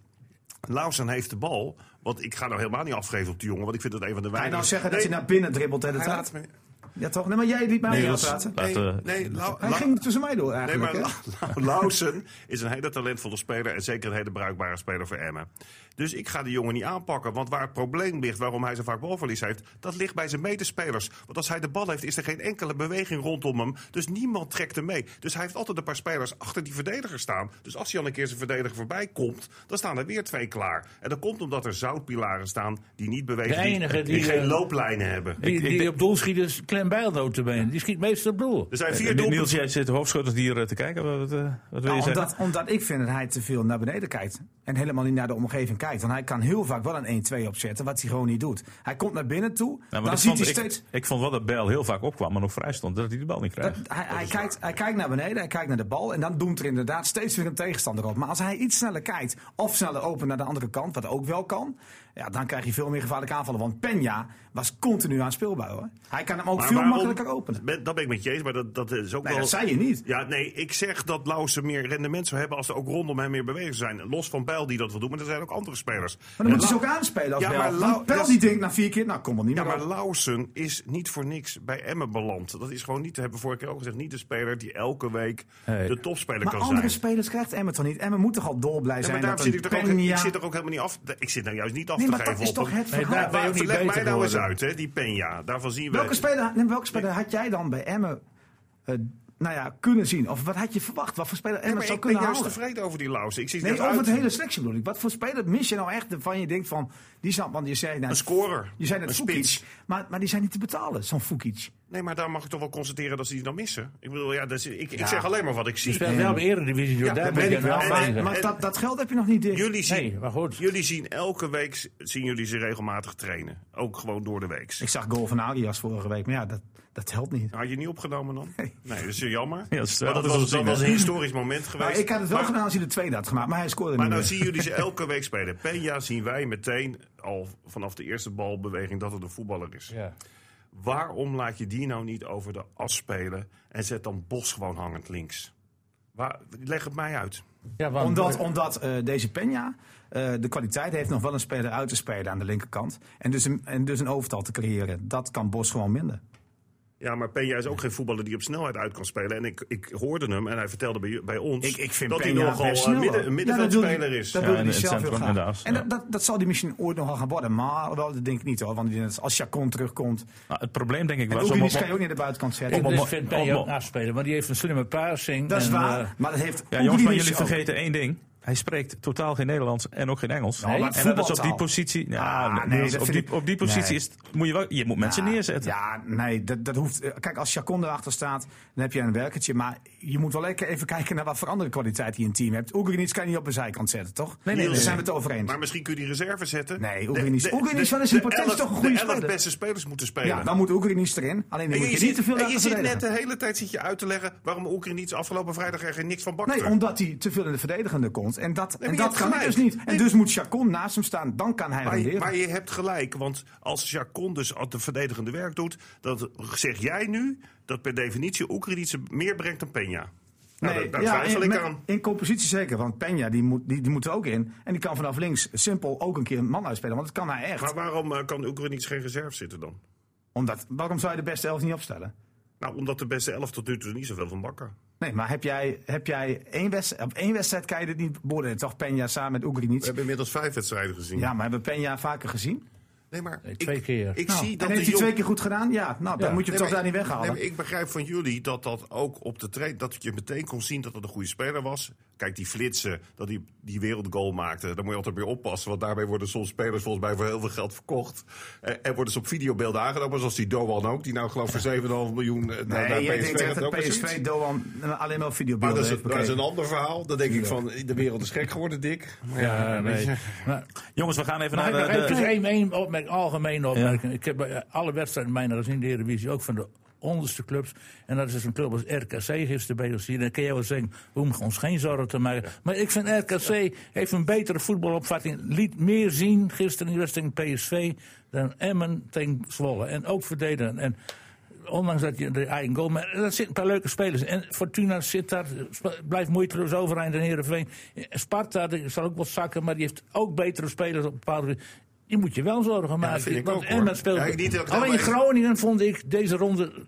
Lausen heeft de bal. Want ik ga nou helemaal niet afgeven op die jongen. Want ik vind dat een van de Ga je weinigen. nou zeggen dat Nee, hij naar binnen dribbelt en het hij raakt? laat me- Ja toch? Nee, maar jij liet mij Nee, niet dat is- praten. Laat, Nee, eh, nee, Lau- Hij Lau- ging tussen mij door Nee, eigenlijk. maar hè? La- La- Lausen is een hele talentvolle speler en zeker een hele bruikbare speler voor Emmen. Dus ik ga de jongen niet aanpakken, want waar het probleem ligt waarom hij zo vaak balverlies heeft, dat ligt bij zijn medespelers. Want als hij de bal heeft, is er geen enkele beweging rondom hem, dus niemand trekt hem mee. Dus hij heeft altijd een paar spelers achter die verdediger staan. Dus als hij al een keer zijn verdediger voorbij komt, dan staan er weer twee klaar. En dat komt omdat er zoutpilaren staan die niet bewegen, De die- enige die, die, geen eh, looplijnen hebben. Die, Ik- ik die denk- op doel schiet is Clem Bijl notabene. Die schiet meestal op doel. Er zijn eh, vier doelpunten. Niels, jij zit hoofdschutters hier eh, te kijken. Wat, wat, eh, wat wil je Nou, zeggen? omdat, omdat ik vind dat hij te veel naar beneden kijkt. En helemaal niet naar de omgeving kijkt. Want hij kan heel vaak wel een 1-2 opzetten, wat hij gewoon niet doet. Hij komt naar binnen toe, Nou, maar dan ik ziet vond- hij ik- steeds... Ik vond wel dat Bijl heel vaak opkwam en ook vrij stond. Dat hij de bal niet Dat- krijgt. Eh, hij, hij, kijkt, hij kijkt naar beneden, hij kijkt naar de bal. En dan doemt er inderdaad steeds weer een tegenstander op. Maar als hij iets sneller kijkt, of sneller open naar de andere kant, wat ook wel kan. Ja, dan krijg je veel meer gevaarlijke aanvallen. Want Peña was continu aan speelbaar hoor. Hij kan hem ook Maar veel waarom- makkelijker Nou openen. Ben, dat ben ik met je eens, maar dat, dat is ook Nee, wel... dat zei je niet. Ja, nee, ik zeg dat Lausen meer rendement zou hebben als er ook rondom hem meer beweging zijn. Los van Bijl die dat wil doen, maar er zijn ook andere spelers. Maar dan En moet je ze Lau- ook aanspelen als Ja, ja, maar Bel. Lau- Want Bel dat- die denkt na vier keer, nou kom maar niet Ja, meer maar op. Lausen is niet voor niks bij Emmen beland. Dat is gewoon niet, dat hebben we vorige keer ook gezegd, niet de speler die elke week Nee. de topspeler Maar kan andere zijn. spelers krijgt Emmen toch niet? Emmen moet toch al dol blij Ja, maar zijn daarom dat zit een ik er ook, ik Peña- zit er ook helemaal niet af. Ik zit nou juist niet af Nee, te maar geven dat is op toch hem. het Nee, verhaal? daar ben je ook niet Leg mij beter nou eens geworden. uit, hè, die Peña. Daarvan zien we... Welke speler, nee, welke speler had jij dan bij Emmen eh, nou ja, kunnen zien? Of wat had je verwacht? Wat voor speler Nee, Emmen maar zou ik ben kunnen juist halen? tevreden over die Lausen. Ik zie Nee, net over uit. het hele selectie bedoel ik. Wat voor speler mis je nou echt van je denkt van... Die snap, want je zei... Nou, Een scorer. Je zei net Een Fukic. spits. Maar, maar die zijn niet te betalen, zo'n Fukic. Nee, maar daar mag ik toch wel constateren dat ze die dan missen. Ik bedoel, ja, dat is, ik, ik zeg alleen maar wat ik zie. Je speelt Dus wel de Eredivisie, door Ja, daar dat ben weet ik ik wel wel. van. En- Maar en- dat, dat geld heb je nog niet, Dick. Jullie zien, Nee, maar goed. jullie zien elke week s- zien jullie ze regelmatig trainen. Ook gewoon door de week. Ik zag goal van Alias vorige week, maar ja, dat, dat helpt niet. Had je niet opgenomen dan? Nee, dat is jammer. dat is- maar dat, dat is was, onzin, dat was hè? een historisch moment geweest. Maar ik had het wel Maar- gedaan als hij de tweede had gemaakt, maar hij scoorde Maar niet. nou meer. zien jullie ze elke week spelen. Peña zien wij meteen al vanaf de eerste balbeweging dat het een voetballer is. Ja. Waarom laat je die nou niet over de as spelen en zet dan Bos gewoon hangend links? Waar, leg het mij uit. Ja, want, Omdat, omdat eh, deze Peña eh, de kwaliteit heeft nog wel een speler uit te spelen aan de linkerkant. En dus, een, en dus een overtal te creëren. Dat kan Bos gewoon minder. Ja, maar Peña is ook geen voetballer die op snelheid uit kan spelen. En ik, ik hoorde hem en hij vertelde bij, bij ons Ik, ik vind dat hij Peña nogal best eh, sneller. midden, een Ja, dat wil middenveldspeler hij- is. Dat Ja, wil en hij het zelf heel centrum graag. en de as, en ja. dat, dat, dat zal hij misschien ooit nog wel gaan worden. Maar wel, dat denk ik niet hoor. Want ik denk dat als Chacon terugkomt. Nou, het probleem denk ik En was om, Oekinis kan je om, ook niet aan de buitenkant zetten. ik om- dus om- vind om- Peña ook om- afspelen, want die heeft een slimme passing. dat is en, waar. eh, maar dat heeft Ja, jongens, maar Oekinis jullie ook. vergeten één ding. Hij spreekt totaal geen Nederlands en ook geen Engels. maar en dat is op die voetbaltaal. positie. Ja, Ah, nee, nee, dat is dat op, vind die, ik- op die positie nee. is, het- moet je, wel, je moet mensen Ja, neerzetten. Ja, nee, dat, dat hoeft. eh, Kijk, als Chacon erachter staat, dan heb je een werkertje. Maar je moet wel lekker even kijken naar wat voor andere kwaliteit je in het team hebt. Oekinis kan je niet op een zijkant zetten, toch? Nee, nee, Daar nee. zijn we het over eens. Maar misschien kun je die reserve zetten. Nee, De- Oekraïne is- de- Oekraïne is de- wel eens in de potentie elf- toch een goede De elf speler. beste spelers moeten spelen. Ja, dan moet Oekinis erin. Alleen dan En moet je je, zit, niet te veel en je laten zit net eh, verdedigen. de hele tijd zit je uit te leggen waarom Oekraïne iets afgelopen vrijdag er geen niks van bakte. Nee, omdat hij te veel in de verdedigende komt. En dat, maar en je dat hebt kan ik gelijk. dus niet. En Nee. dus moet Chacon naast hem staan. Dan kan hij maar, je, renderen. maar je hebt gelijk, want als Jacon dus al de verdedigende werk doet, dan zeg jij nu dat per definitie Oekraïne iets meer brengt dan Peña. Nou, daar- daar ja, twijfel in, ik met- aan. in compositie zeker. Want Peña, die moet, die, die moet er ook in. En die kan vanaf links simpel ook een keer een man uitspelen. Want dat kan hij echt. Maar waarom eh, kan Oekraïne iets geen reserve zitten dan? Omdat, waarom zou je de beste elf niet opstellen? Nou, omdat de beste elf tot nu toe niet zoveel van bakken. Nee, maar heb jij, heb jij één wedstrijd, op één wedstrijd kan je dit niet beoordelen. Toch Peña samen met Oegri niet. inmiddels vijf wedstrijden gezien. Ja, maar hebben we Peña vaker gezien? Nee, maar Nee, twee keer. Ik Nou, zie dat en heeft de hij jong- twee keer goed gedaan? Ja, nou, dan moet je hem Nee, toch daar maar- niet weghalen. nee, maar ik begrijp van jullie dat dat ook op de trein. dat je meteen kon zien dat het een goede speler was. Kijk, die flitsen, dat hij die wereldgoal maakte. Daar moet je altijd mee oppassen. Want daarmee worden soms spelers volgens mij voor heel veel geld verkocht. En, en worden ze op videobeelden aangenomen. Zoals die Doan ook, die nou geloof ik voor 7,5 miljoen eh, naar, Nee, naar jij PSV denkt echt gaat. dat Ook eens PSV iets. Doan eh, alleen maar op Maar dat videobeelden is, heeft dat is bekeken. een ander verhaal. Dan denk ik van, de wereld is gek geworden, dik. ja, nee. Maar- Jongens, we gaan even Maar naar ik eh, de. nog de- één, één opmerk, algemene opmerking. Ik heb eh, alle wedstrijden mijner gezien, de Eredivisie, ook van de onderste clubs. En dat is dus een club als RKC gisteren bij ons hier. Dan kun je wel zeggen, we hoeven ons geen zorgen te maken. Maar ik vind RKC heeft een betere voetbalopvatting. Liet meer zien gisteren in de wedstrijd tegen PSV dan Emmen tegen Zwolle. En ook verdedigen. En Ondanks dat je de eigen goal. Maar er zitten een paar leuke spelers. En Fortuna zit daar. sp- Blijft moeiteloos overeind in Heerenveen. Eh, Sparta die zal ook wel zakken. Maar die heeft ook betere spelers op bepaalde. Die moet je wel zorgen maken. vind ik want ook, hoor. Emmen speelt. Ja, ik niet dat ik Alleen helemaal- Groningen vond ik deze ronde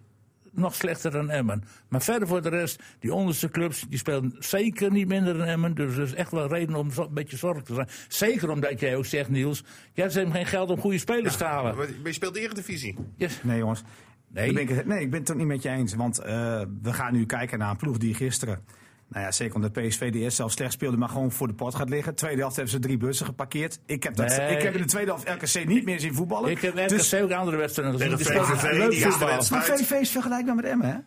nog slechter dan Emmen. Maar verder voor de rest, die onderste clubs, die spelen zeker niet minder dan Emmen. Dus er is echt wel reden om zo- een beetje zorgelijk te zijn. Zeker omdat jij ook zegt, Niels, jij hebt geen geld om goede spelers te halen. Maar je speelt de Eredivisie. Yes. Nee, jongens. Nee. Ik ben, ik het- nee, ik ben het ook niet met je eens. Want eh, we gaan nu kijken naar een ploeg die gisteren. Nou ja, zeker omdat PSV de eerste helft slecht speelde, maar gewoon voor de pot gaat liggen. Tweede helft hebben ze drie bussen geparkeerd. Ik heb, dat, Nee. ik heb in de tweede helft RKC niet meer zien voetballen. Ik heb RKC Dus- ook andere wedstrijden gezien. Tegen Het is wel VVV, een leuk die eerste voetbal. wedstrijd. maar VVV is vergelijkbaar met Emmen, hè?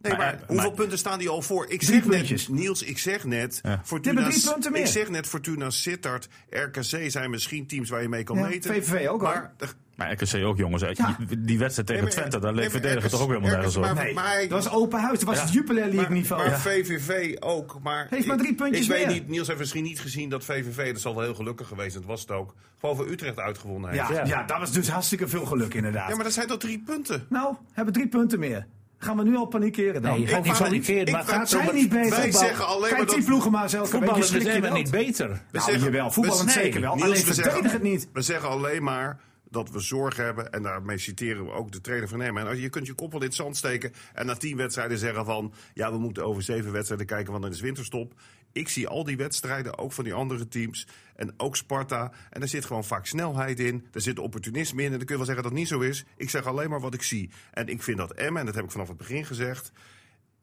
Nee, maar, Maar- hoeveel maar- punten staan die al voor? Ik Drie zeg net, puntjes. Niels, ik zeg net, Die Fortuna, hebben drie punten ik meer. zeg net Fortuna Sittard, RKC zijn misschien teams waar je mee kan Ja, meten. VVV ook, hoor. Maar, de- Maar RKC ook, jongens. hè. Ja. Die- Die wedstrijd tegen Nee, maar Twente, daar nee, maar verdedigen RKC toch ook helemaal nergens op. maar- Nee, maar- dat was open huis. Dat was het Jupiler League maar, niveau. maar Ja. VVV ook. Maar Heeft maar ik- drie puntjes Ik weet meer. niet, Niels heeft misschien niet gezien dat VVV, dat zal wel heel gelukkig geweest zijn, dat was het ook, gewoon voor Utrecht uitgewonnen heeft. Ja, ja. dat was dus hartstikke veel geluk, inderdaad. Ja, maar dat zijn toch drie punten? Nou, hebben drie punten meer. Gaan we nu al panikeren dan? Nee, je gaat niet Ik- panikeren, ik- maar het gaat wij zijn om het- niet beter. Wij voetbal. zeggen alleen Kijk, maar die dat- ploegen maar zelf Voetballen is helemaal niet niet beter. We Nou, jawel, voetballend we- zeker wel. Alleen we verdedig zeggen- het niet. We zeggen alleen maar dat we zorgen hebben. En daarmee citeren we ook de trainer van Emmen. En als- Je kunt je kop wel in het zand steken. En na tien wedstrijden zeggen van... ja, we moeten over zeven wedstrijden kijken, want dan is winterstop. Ik zie al die wedstrijden, ook van die andere teams. En ook Sparta. En daar zit gewoon vaak snelheid in. Daar zit opportunisme in. En dan kun je wel zeggen dat het niet zo is. Ik zeg alleen maar wat ik zie. En ik vind dat Emmen, en dat heb ik vanaf het begin gezegd...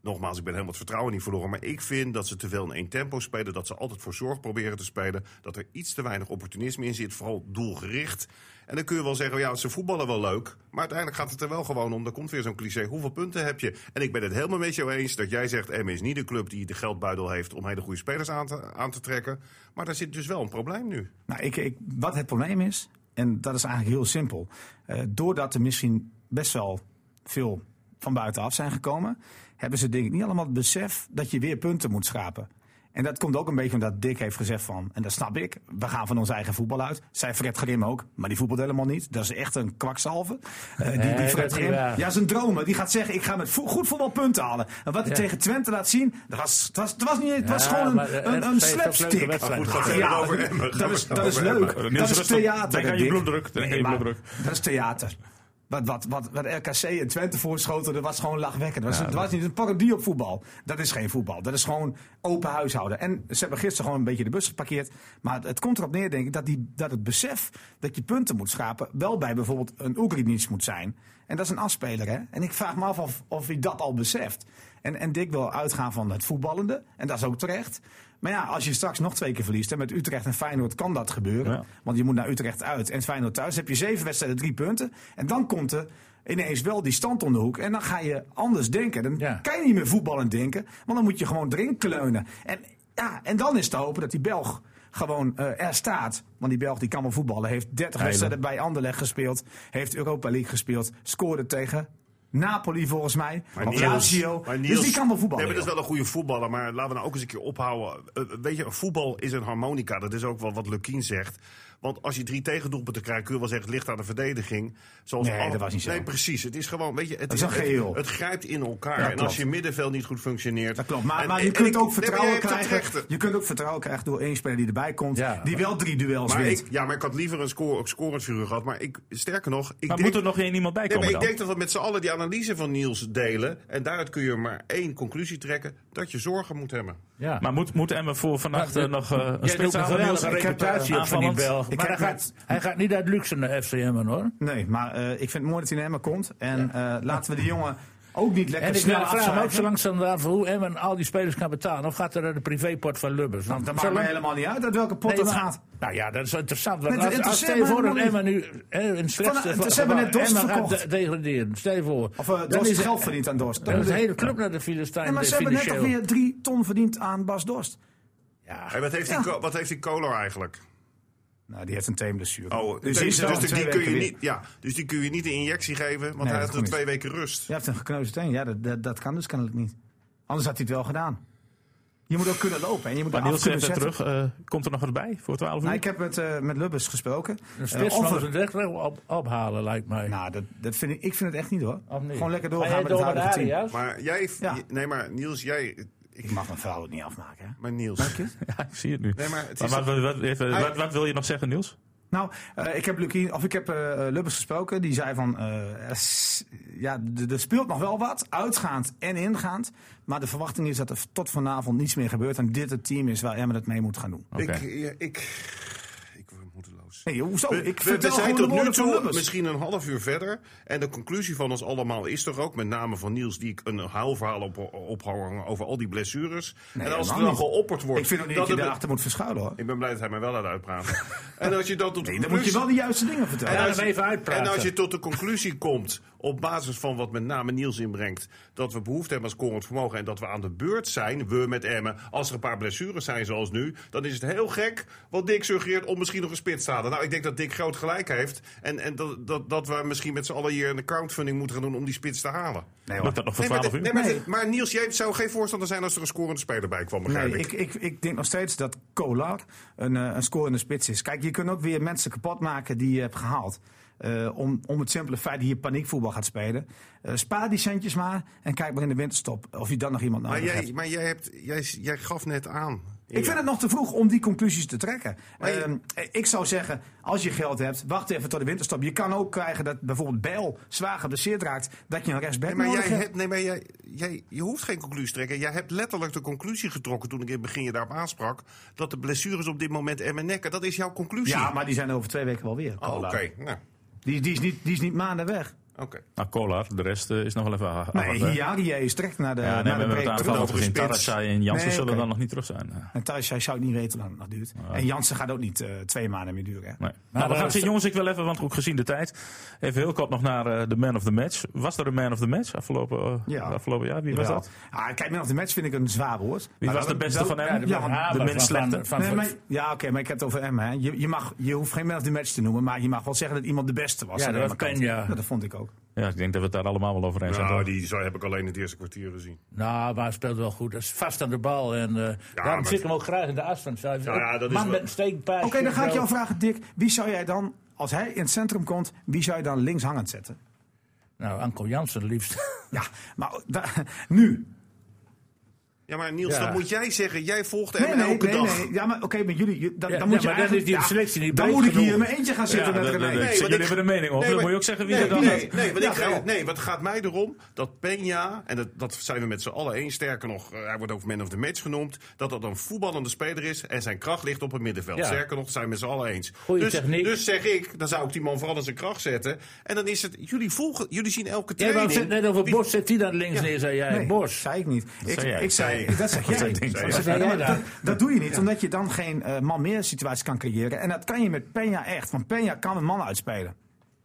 Nogmaals, ik ben helemaal het vertrouwen niet verloren. Maar ik vind dat ze te veel in één tempo spelen. Dat ze altijd voor zorg proberen te spelen. Dat er iets te weinig opportunisme in zit. Vooral doelgericht. En dan kun je wel zeggen, ja, ze voetballen wel leuk. Maar uiteindelijk gaat het er wel gewoon om. Daar komt weer zo'n cliché. Hoeveel punten heb je? En ik ben het helemaal met jou eens dat jij zegt... M is niet de club die de geldbuidel heeft om hele goede spelers aan te, aan te trekken. Maar daar zit dus wel een probleem nu. Nou, ik, ik, wat het probleem is, en dat is eigenlijk heel simpel. eh, doordat er misschien best wel veel van buitenaf zijn gekomen, hebben ze denk ik niet allemaal het besef dat je weer punten moet schrapen. En dat komt ook een beetje omdat Dick heeft gezegd van, en dat snap ik, we gaan van ons eigen voetbal uit. Zij Fred Grim ook, maar die voetbalt helemaal niet. Dat is echt een kwakzalve. Eh, die, *laughs* Nee, die dat Fred is Grim, niet waar. ja, zijn dromen. Die gaat zeggen, ik ga met vo- goed voetbal punten halen. En wat hij Ja. tegen Twente laat zien, dat was, het was, het was, niet, het was Ja, gewoon maar, een, eh, een, een zij heeft ook leuke slapstick. wedstrijden. Goed, gaat Ja, verder over Emmen. dat is, dat is Over Emmen. leuk. Niels dat is Rustig, theater. denk aan je Dick. bloeddruk, denk aan je maar bloeddruk. Dat is theater. Wat, wat, wat, wat RKC en Twente voorschoten, dat was gewoon lachwekkend. Dat was, dat was niet een parodie op voetbal. Dat is geen voetbal. Dat is gewoon open huishouden. En ze hebben gisteren gewoon een beetje de bus geparkeerd. Maar het, het komt erop neer, denk ik, dat, die, dat het besef dat je punten moet schapen... wel bij bijvoorbeeld een Oekraïnisch moet zijn. En dat is een afspeler, hè. En ik vraag me af of, of hij dat al beseft. En, en Dick wil uitgaan van het voetballende. En dat is ook terecht. Maar ja, als je straks nog twee keer verliest... en met Utrecht en Feyenoord kan dat gebeuren... Ja. Want je moet naar Utrecht uit en Feyenoord thuis. heb je zeven wedstrijden, drie punten. En dan komt er ineens wel die stand om de hoek. En dan ga je anders denken. Dan Ja. kan je niet meer voetballend denken. Want dan moet je gewoon erin kleunen. En, ja, en dan is te hopen dat die Belg gewoon eh, er staat. Want die Belg die kan wel voetballen. Heeft 30 wedstrijden bij Anderlecht gespeeld. Heeft Europa League gespeeld. Scoorde tegen Napoli volgens mij. Maar of Niels- Lazio. maar dus Niels- die kan wel Nee, voetballen. maar dat is joh. wel een goede voetballer. Maar laten we nou ook eens een keer ophouden. Eh, weet je, voetbal is een harmonica. Dat is ook wel wat Lukien zegt. Want als je drie tegendoelpunten krijgt, kun je wel zeggen, het ligt aan de verdediging. Zoals Nee, dat was niet zo. Nee, precies. Het is gewoon, weet je, het, is een het- geheel. Het, grijpt in elkaar. en klopt. als je middenveld niet goed functioneert. Dat klopt. Maar, En- maar je en- kunt en ook ik- vertrouwen nee, maar jij hebt krijgen. het recht. Je kunt ook vertrouwen krijgen door één speler die erbij komt. Ja. die wel drie duels Maar wint. ik, ja, maar ik had liever een score, scorend figuur gehad. Maar ik, sterker nog, ik Maar denk, moet er nog één iemand bij Nee, komen maar ik dan? denk dat we met z'n allen die analyse van Niels delen. En daaruit kun je maar één conclusie trekken: dat je zorgen moet hebben. Ja. Maar moet, moet Emmen voor vannacht Maar- eh, nog eh, een Jij doet spits een halen? geweldige Ik heb, eh, reputatie op van die aanvallend. Belg. Ik Maar hij heb gaat, hij gaat niet uit luxe naar FCM hoor. Nee, maar eh, ik vind het mooi dat hij naar Emmen komt. En eh, laten we die jongen ook niet lekker En ik nou, snel vraag me ook zo afschrijven. langzaam af hoe Emmen al die spelers kan betalen. Of gaat er naar de privépot van Lubbers? Want Dat zo maakt me lang- helemaal niet uit uit welke pot Nee, het maar- gaat. Nou ja, dat is interessant. Want Het als, als interesseert stel je me voor dat helemaal Emmen nu hè, een slechtste... Van- eh, ze hebben net Dost Emmen gaat verkocht. de- degraderen. Stel je voor. Of eh dan Dorst is e- is geld verdiend aan Dorst. Dan is de hele club naar de Filistijn Nee, maar ze hebben net financieel. toch weer drie ton verdiend aan Bas Dorst. En wat heeft, Ja. die, Ko- wat heeft die Kolar eigenlijk? Nou, die heeft een teenblessure. Oh, dus, die die, is er dus al die twee kun je weken weer. niet, ja, dus die kun je niet een injectie geven, want Nee, hij dat heeft er kan twee weken rust. Je hebt een gekneusde teen. Ja, dat, dat, dat kan dus kennelijk niet. Anders had hij het wel gedaan. Je moet ook kunnen lopen en je moet Maar daar af Niels kunnen zegt zetten. terug. eh, komt er nog wat bij voor 12 uur? Nou, ik heb met, eh, met Lubbers gesproken. Een Eh, spits of van we- zijn rechter op, ophalen, lijkt mij. Nou, dat, dat vind ik, ik vind het echt niet hoor. Of niet? Gewoon lekker Oh, Ga doorgaan jij met door het huidige de team. Arias? Maar jij, Ja. nee, maar Niels, jij, ik, Ik mag mijn vrouw het niet afmaken. Hè? maar Niels. Ja, ik zie het nu. Nee, maar het Maar is wat, wat, wat- even, Hij- wat, wat wil je nog zeggen, Niels? Nou, eh, ik heb, Lukien, of ik heb eh, Lubbers gesproken. Die zei van, eh, er s- ja, d- er speelt nog wel wat. Uitgaand en ingaand. Maar de verwachting is dat er tot vanavond niets meer gebeurt. En dit het team is waar Emmen het mee moet gaan doen. ik, Oké. ik, ik, ik word moedeloos. Nee, hoezo? We, Eh, ik we- vertel we gewoon zijn de tot nu woorden van toe Lubbers. misschien een half uur verder. En de conclusie van ons allemaal is toch ook, met name van Niels, die ik een haalverhaal op, ophangen over al die blessures. en als er helemaal dan niet. geopperd wordt. Ik vind ook niet dat je het- daarachter moet verschuilen hoor. Ik ben blij dat hij mij wel laat *laughs* uitpraten. en als je dat tot Nee, dan moet je wel de juiste dingen vertellen. En Laat als, hem je, even uitpraten. en als je tot de conclusie komt, op basis van wat met name Niels inbrengt, dat we behoefte hebben aan scorend vermogen en dat we aan de beurt zijn, we met Emmen, als er een paar blessures zijn zoals nu, dan is het heel gek wat Dick suggereert om misschien nog een spits te halen. Nou, ik denk dat Dick groot gelijk heeft en, en dat, dat, dat we misschien met z'n allen hier een accountfunding moeten gaan doen om die spits te halen. Nee, hoor. Lukt dat nog voor Nee, maar, 12 de- uur? nee, maar, de- Nee. maar Niels, jij zou geen voorstander zijn als er een scorende speler bij kwam, begrijp Nee, ik. ik, ik, ik denk nog steeds dat Kolar een, eh, een scorende spits is. Kijk, je kunt ook weer mensen kapot maken die je hebt gehaald. Eh, om, om het simpele feit dat je paniekvoetbal gaat spelen. Eh, spaar die centjes maar en kijk maar in de winterstop of je dan nog iemand Maar, nodig hebt. jij, maar jij, hebt, jij, jij gaf net aan. Ik vind het nog te vroeg om die conclusies te trekken. je- Ehm, ik zou zeggen, als je geld hebt, wacht even tot de winterstop. Je kan ook krijgen dat bijvoorbeeld Bijl zwaar geblesseerd raakt, dat je een rechtsback Nee, maar, nodig jij hebt. hebt, nee, maar jij, jij, je hoeft geen conclusie te trekken. Jij hebt letterlijk de conclusie getrokken toen ik in het begin je daarop aansprak. Dat de blessures op dit moment en mijn nekken. Dat is jouw conclusie. Ja, maar die zijn over twee weken wel weer. Oh, Oké, Kolar. nou. die, die, is niet, die is niet maanden weg. Oké. Nou, Kolar, de rest eh, is nog wel even a- Nee, afwachten. Hiari is direct naar de, Ja, nee, naar we de hebben het break aantal terug. al over gezien. spits. Tarasai en Jansen Nee, zullen oké. dan nog niet terug zijn. eh. En thuis hij zou het niet weten hoe lang het nog duurt. En Jansen gaat ook niet eh, twee maanden meer duren. Hè? Nee. Nou, we eh, gaan zien, jongens, ik wil even, want ook gezien de tijd, even heel kort nog naar eh, de man of the match. Was er een man of the match afgelopen, eh, Ja. afgelopen jaar? Wie was Jawel. dat? Ah, kijk, man of the match vind ik een zwaar woord. Wie Maar was de wel- beste wel- van hem? Ja, de Hamer minst van- slechte. van- Nee, van- maar- ja, oké, maar ik heb het over hem. Hè. Je, je, mag, je hoeft geen man of the match te noemen, maar je mag wel zeggen dat iemand de beste was. Ja, aan de dat ene kant. Nou, kan, ja. dat vond ik ook. Ja, ik denk dat we het daar allemaal wel over eens zijn. Nou, toch? die zo heb ik alleen het eerste kwartier gezien. Nou, maar hij speelt wel goed. Hij is vast aan de bal. En, eh, daarom maar- zit ik hem ook graag in de afstand. Hij is Ja, ook ja, dat is man wel- met een steekpaas. Oké, dan ga ik jou vragen, Dick. Wie zou jij dan, als hij in het centrum komt, wie zou je dan links hangend zetten? Nou, Anko Jansen liefst. Ja, maar da- *laughs* nu. Ja, maar Niels, Ja. dat moet jij zeggen. Jij volgt Nee, hem nee, elke nee, dag. nee. Ja, maar oké, maar jullie. je- Dan, Ja, dan moet ja, je maar dan eigenlijk- is die ja, selectie niet Dan breed moet ik hier in genoeg. mijn eentje gaan zitten Ja, met dat- dat- René. dat- want Jullie ik- hebben een mening over, dan moet je ook zeggen wie nee, er dan- nee, nee, want Ja, ik ga ga, op. nee, want het gaat mij erom dat Peña, en dat, dat zijn we met z'n allen eens, sterker nog, eh, hij wordt ook man of the match genoemd, dat dat een voetballende speler is en zijn kracht ligt op het middenveld. Ja. Sterker nog, dat zijn we met z'n allen eens. Goeie dus, techniek. dus zeg ik, dan zou ik die man vooral in zijn kracht zetten. En dan is het, jullie volgen, jullie zien elke Jij training. zet net over Die- Bos, zet die dan links neer, zei jij. Nee, Bos. zei ik niet. ik, zei jij. ik Zei zei, ik. dat zeg Zei jij. ik. Dat zeg Zei jij. jij. Zei Maar jij Dat, dat doe je niet, omdat je dan geen eh, man meer situatie kan creëren. En dat kan je met Peña echt. Want Peña kan een man uitspelen.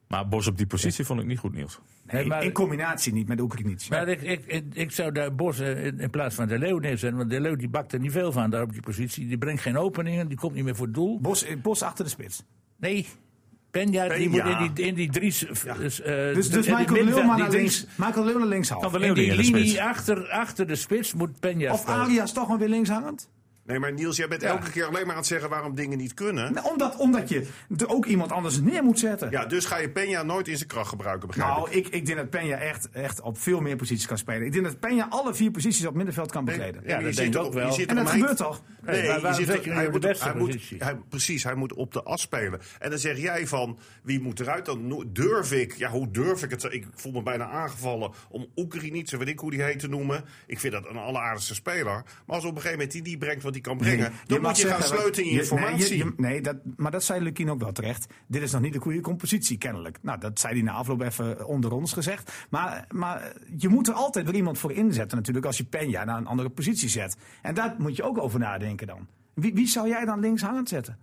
Maar Bos op die positie vond ik niet goed, Niels. Nee, maar- in combinatie niet met Oekraïnisch. Maar ik, ik, ik, ik zou daar Bos eh, in, in plaats van De Leeuw neerzetten. Want De Leeuw die bakt er niet veel van daar op die positie. Die brengt geen openingen, die komt niet meer voor het doel. Bos, eh, Bos achter de spits. Nee, Penja die Peña. moet in die, in die drie... s- eh, Dus, Dus, dus Michael Leeuwen naar links. Michael Leeuwen naar links Kan half. de In Leeuw niet die in de spits? linie achter, achter de spits moet Penja Of spelen. alias toch maar weer links hangend? Nee, maar Niels, jij bent elke keer alleen maar aan het zeggen waarom dingen niet kunnen. Nou, omdat, omdat je er ook iemand anders neer moet zetten. Ja, dus ga je Peña nooit in zijn kracht gebruiken, begrijp ik. Nou, ik, ik denk dat Peña echt, echt op veel meer posities kan spelen. Ik denk dat Peña alle vier posities op middenveld kan bekleden. Ja, dat je denk zit ik toch- ook je wel. zit En toch dat maar- gebeurt toch? Nee, Nee, maar je waarom zit zet toch- je hem hij op de moet, beste hij moet- positie? hij- precies, hij moet op de as spelen. En dan zeg jij van, wie moet eruit? Dan no- durf ik, ja hoe durf ik het? Ik voel me bijna aangevallen om Oekraïnietse, weet ik hoe die heet, te noemen. Ik vind dat een alleraardigste speler. Maar als op een gegeven moment die die brengt wat die kan brengen... dan mag moet je gaan zeggen, sleutelen in je je- Nee, informatie. je- je- nee, dat, maar dat zei Lukien ook wel terecht. Dit is nog niet de goede compositie, kennelijk. Nou, dat zei hij na afloop even onder ons gezegd. Maar, maar je moet er altijd weer iemand voor inzetten natuurlijk... als je Peña naar een andere positie zet. En daar moet je ook over nadenken dan. Wie, wie zou jij dan links hangend zetten?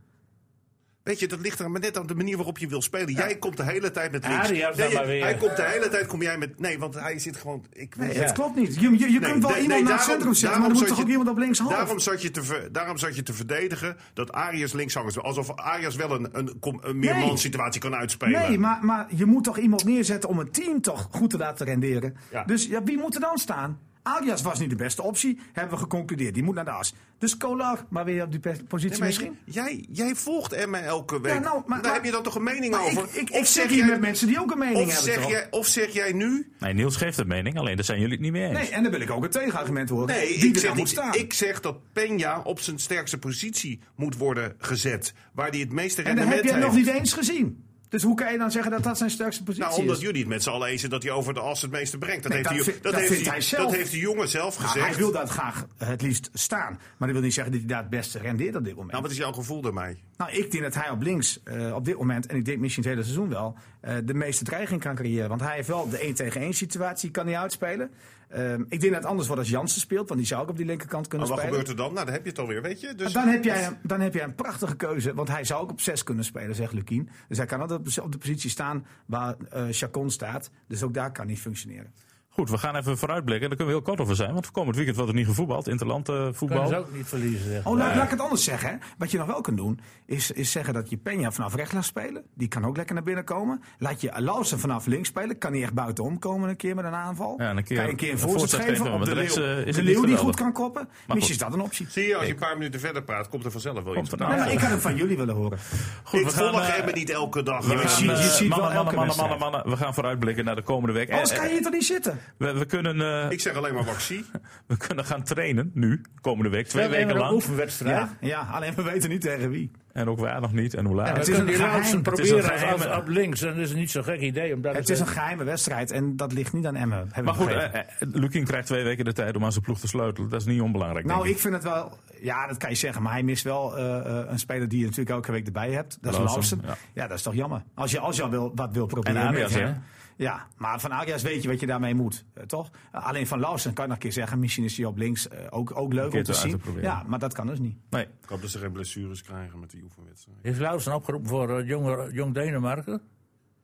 Weet je, dat ligt er maar net aan de manier waarop je wil spelen. Jij komt de hele tijd met links. Arias dan nee, maar weer. Hij komt de hele tijd, kom jij met... Nee, want hij zit gewoon... Ik, Nee, ja. dat klopt niet. Je, je, je Nee, kunt wel nee, iemand nee, naar het daarom- centrum zetten, daarom maar er moet zat toch ook je- iemand op links half? Daarom zat, je te ver- daarom zat je te verdedigen dat Arias linkshanger is. Alsof Arias wel een, een, kom- een meer Nee. situatie kan uitspelen. Nee, maar, maar je moet toch iemand neerzetten om het team toch goed te laten renderen. Ja. Dus ja, wie moet er dan staan? Alias was niet de beste optie, hebben we geconcludeerd. Die moet naar de as. Dus Kolar, maar weer op die pe- positie Nee, maar misschien? Jij, jij volgt Emma elke week. Ja, nou, maar- Daar maar- heb je dan toch een mening Maar over? ik, ik, ik zit hier met mensen die ook een mening of hebben, zeg, toch? jij, of zeg jij nu... Nee, Niels geeft een mening, alleen daar zijn jullie het niet mee eens. Nee, en dan wil ik ook een tegenargument horen. Nee, die ik er zeg, dan moet niet, staan. ik zeg dat Peña op zijn sterkste positie moet worden gezet. Waar hij het meeste en dat rendement heb jij heeft. nog niet eens gezien. Dus hoe kan je dan zeggen dat dat zijn sterkste positie Nou, omdat is? jullie het met z'n allen eens zijn dat hij over de as het meeste brengt. Dat, Nee, heeft, dat die- vind- dat, dat heeft, vindt die- hij zelf. dat heeft de jongen zelf Nou, gezegd. hij wil dat graag het liefst staan. Maar dat wil niet zeggen dat hij daar het beste rendeert op dit moment. Nou, wat is jouw gevoel daarmee? Nou, ik denk dat hij op links eh, op dit moment, en ik denk misschien het hele seizoen wel, eh, de meeste dreiging kan creëren. Want hij heeft wel de 1 tegen 1 situatie, kan hij uitspelen. Ehm, ik denk dat het anders wordt als Jansen speelt, want die zou ook op die linkerkant kunnen Maar wat spelen. gebeurt er dan? Nou, dan heb je het alweer, weet je. Dus Dan heb, jij, dan heb jij een prachtige keuze, want hij zou ook op 6 kunnen spelen, zegt Lukien. Dus hij kan altijd op de- op de positie staan waar eh, Chacon staat. Dus ook daar kan hij functioneren. Goed, we gaan even vooruitblikken. Daar kunnen we heel kort over zijn. Want komend weekend wordt er niet gevoetbald. Interland eh, Kunnen voetbal. ze ook niet verliezen, zeg. Oh, laat, laat ik het anders zeggen. Hè. Wat je nog wel kan doen, is, is zeggen dat je Peña vanaf rechts laat spelen. Die kan ook lekker naar binnen komen. Laat je Lausen vanaf links spelen. Kan hij echt buitenom komen een keer met een aanval. Ja, en een keer kan je een keer een een voorzet voorzet geven geven, op de want leeuw. rechts, eh, is het de niet leeuw die geweldig. goed kan koppen. Misschien is goed. dat een optie. zie je, als je een paar minuten verder praat, komt er vanzelf wel Komt iets. er bij. nou. Nee, maar ik had hem van jullie willen horen. Goed, ik volg eh, hem niet elke dag. we Ja, gaan, ziet- je eh, ziet wel mannen, mannen, elke mannen, wedstrijd. mannen, mannen. We gaan vooruitblikken naar de komende week. Anders Eh, kan je eh, hier toch niet zitten? we, we kunnen, eh, ik zeg alleen maar wat ik *laughs* zie. we kunnen gaan trainen nu, komende week. Twee We hebben weken een lang. oefenwedstrijd. Ja, ja, alleen we weten niet tegen wie. En ook waar nog niet en hoe laat. Dan het is kunnen een die geheim. Lauwersen Het is een proberen als- als geheime. op links. Dan is het niet zo'n gek idee. Omdat Het is een geheime wedstrijd en dat ligt niet aan Emmen. heb ik maar goed, begrepen. eh, eh, Lukien krijgt twee weken de tijd om aan zijn ploeg te sleutelen. Dat is niet onbelangrijk. Nou, denk ik vind het wel. Ja, dat kan je zeggen. Maar hij mist wel eh, eh, een speler die je natuurlijk elke week erbij hebt. Dat is Lawson, Lawson. ja. Ja. dat is toch jammer. Als je, als je al wil, wat wil proberen. En Arias, met hè? hem. Ja, maar van Arias weet je wat je daarmee moet, eh, toch? Eh, alleen van Lausen kan ik nog een keer zeggen, misschien is hij op links eh, ook, ook leuk keer om te te Eh, uit zien. te proberen. ja, maar dat kan dus niet. Nee. Ik hoop dat ze geen blessures krijgen met die oefenwedstrijd. Is Lausen opgeroepen voor eh, jong, jong Denemarken?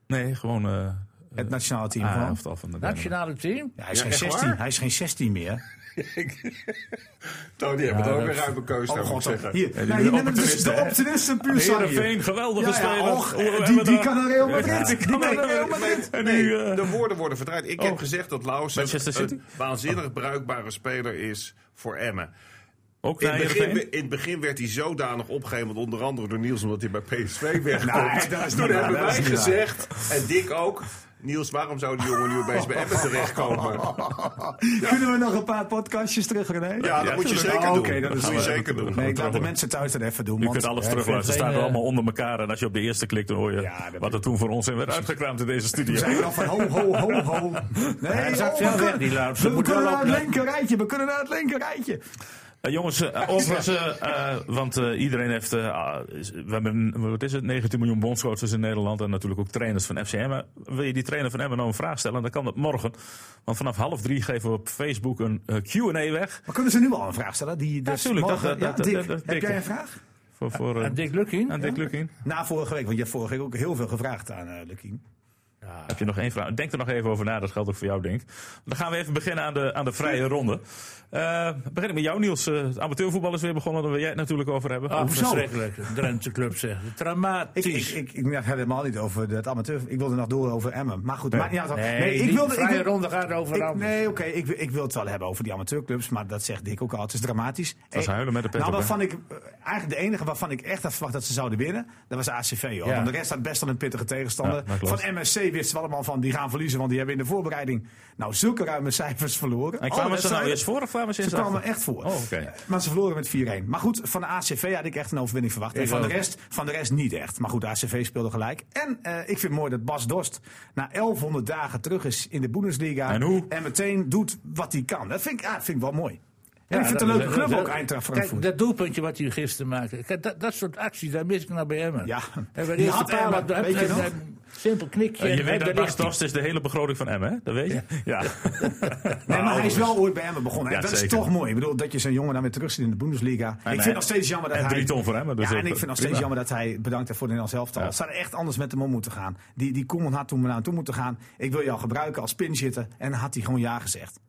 Nee, gewoon eh Het nationale team a gewoon. elftal van de Denemarken. Nationale team? Ja, hij, is Ja, geen echt 16, waar? hij is geen 16 meer. Tony, die hebben Ja, het ook dat- een ruime keuze, Oh daar moet god, ik zeggen. hier. die nee, doen hier nemen we dus opportunisten, de hè? optimisten puur samen hier. Heerenveen, geweldige Ja, ja, speler. och, Hoe eh, hebben die, we die daar- kan naar Real Madrid. Ja, die Die kan kan naar naar Real Madrid. En Nee, nu, eh, Oh. de woorden worden verdraaid. Ik heb gezegd dat Manchester Lauwers City? een waanzinnig bruikbare speler is voor Emmen. ook In naar het, begin, Heerenveen. in het begin werd hij zodanig opgehemeld, onder andere door Niels, omdat hij bij PSV wegkomt. Nee, dat is niet Toen waar, hebben dat is wij niet waar. gezegd, en Dick ook, Niels, waarom zou die jongen nu opeens bij Emmen terechtkomen? *laughs* Kunnen we nog een paar podcastjes terug, René? Ja, dat moet je tuurlijk. zeker Oh, doen. Oké, dat Dat is moet je zeker doen. Nee, ik laat de mensen thuis dat even doen. Je want- kunt alles Ja, terugluisteren. Ze vind staan er geen, allemaal onder elkaar. En als je op de eerste klikt, dan hoor je Ja, dat wat er toen voor ons in werd uitgekraamd in deze We studio. zijn dan van ho, ho, ho, *laughs* ho. Nee, hij oh, zakt we wel kunnen- weg, die Laurens. Ze We moet kunnen wel naar het opletten. linker rijtje, we kunnen naar het linker rijtje. Eh, jongens, eh, overigens, eh, eh, want eh, iedereen heeft. eh, ah, is- we hebben, wat is het? 19 miljoen bondscoaches in Nederland. En natuurlijk ook trainers van FCM. Maar Wil je die trainer van Emmen nou een vraag stellen? Dan kan dat morgen. Want vanaf half drie geven we op Facebook een eh, QA weg. Maar kunnen ze nu al een vraag stellen? Die, dus tuurlijk, dat- dat- morgen- ja, dat- Dick, dat- dat- heb Dick. jij een vraag? Voor, voor, eh, Aan Dick Lukien? aan Dick Lukien. Na vorige week, want je hebt vorige week ook heel veel gevraagd aan eh Lukien. Ah. Heb je nog één vraag? Denk er nog even over na. Dat geldt ook voor jou, Denk. Dan gaan we even beginnen aan de, aan de vrije ronde. Eh, begin ik met jou, Niels. Eh, het amateurvoetbal is weer begonnen. Daar wil jij het natuurlijk over hebben. Ah, hoezo? verschrikkelijk. De Drenthe club zegt. Ik, ik, Dramatisch. ik, ik merk helemaal niet over het amateur. Ik wilde nog door over Emmen. Maar goed, maakt niet uit. nee, ik die wilde. ik vrije wil- ronde gaat over Ik- anders. nee, oké, ik, wil- ik wil het wel hebben over die amateurclubs, maar dat zegt Dick ook al. Het is dramatisch. Dat is huilen met de pet Nou, op, hè? waarvan ik, eh, eigenlijk de enige waarvan ik echt had verwacht dat ze zouden winnen, dat was ACV. Hoor. Ja. Want de rest had best wel een pittige tegenstander. Ja, dat klopt. van MSC wisten we allemaal van, die gaan verliezen, want die hebben in de voorbereiding nou zulke ruime cijfers verloren. Oh, Oh, en Alle kwamen ze nou wedstrijden. eerst voor of kwamen ze Ze eerst kwamen achter? echt voor. Oh, oké. Maar ze verloren met 4-1. Maar goed, van de ACV had ik echt een overwinning verwacht. en Ik van de, ook. rest, van de rest niet echt. Maar goed, de ACV speelde gelijk. En eh, ik vind het mooi dat Bas Dost na 1100 dagen terug is in de Bundesliga. En hoe? meteen doet wat hij kan. Dat vind ik, ah, vind ik wel mooi. En ik Ja, vind het een dat- leuke dat- club ook, dat- Eintracht Kijk, Frankfurt. dat doelpuntje wat hij gisteren maakte. Kijk, dat, dat soort acties, daar mis ik naar bij Emmen. Ja. En bij de Die eerste had paal Emmen, had- had- weet je had- nog? had- Simpel knikje. Eh, en je weet daar dat Bas ligt hij. Dost is de hele begroting van Emmen, hè? Dat weet je? Ja. *laughs* Nee, maar hij is wel ooit bij Emmen begonnen. En Nou, Ja, dat zeker. is toch mooi. Ik bedoel, dat je zo'n jongen dan weer terug ziet in de Bundesliga. ik vind hij- nog steeds jammer dat en hij... drie ton voor Emmen, dus ja, dat- en ik vind nog steeds prima. jammer dat hij bedankt heeft voor de Nederlands elftal. Ja. Het zou er echt anders met hem om moeten gaan. Die, die Koeman had toen maar aan toe moeten gaan. Ik wil jou gebruiken als pinzitter. En dan had hij gewoon ja gezegd.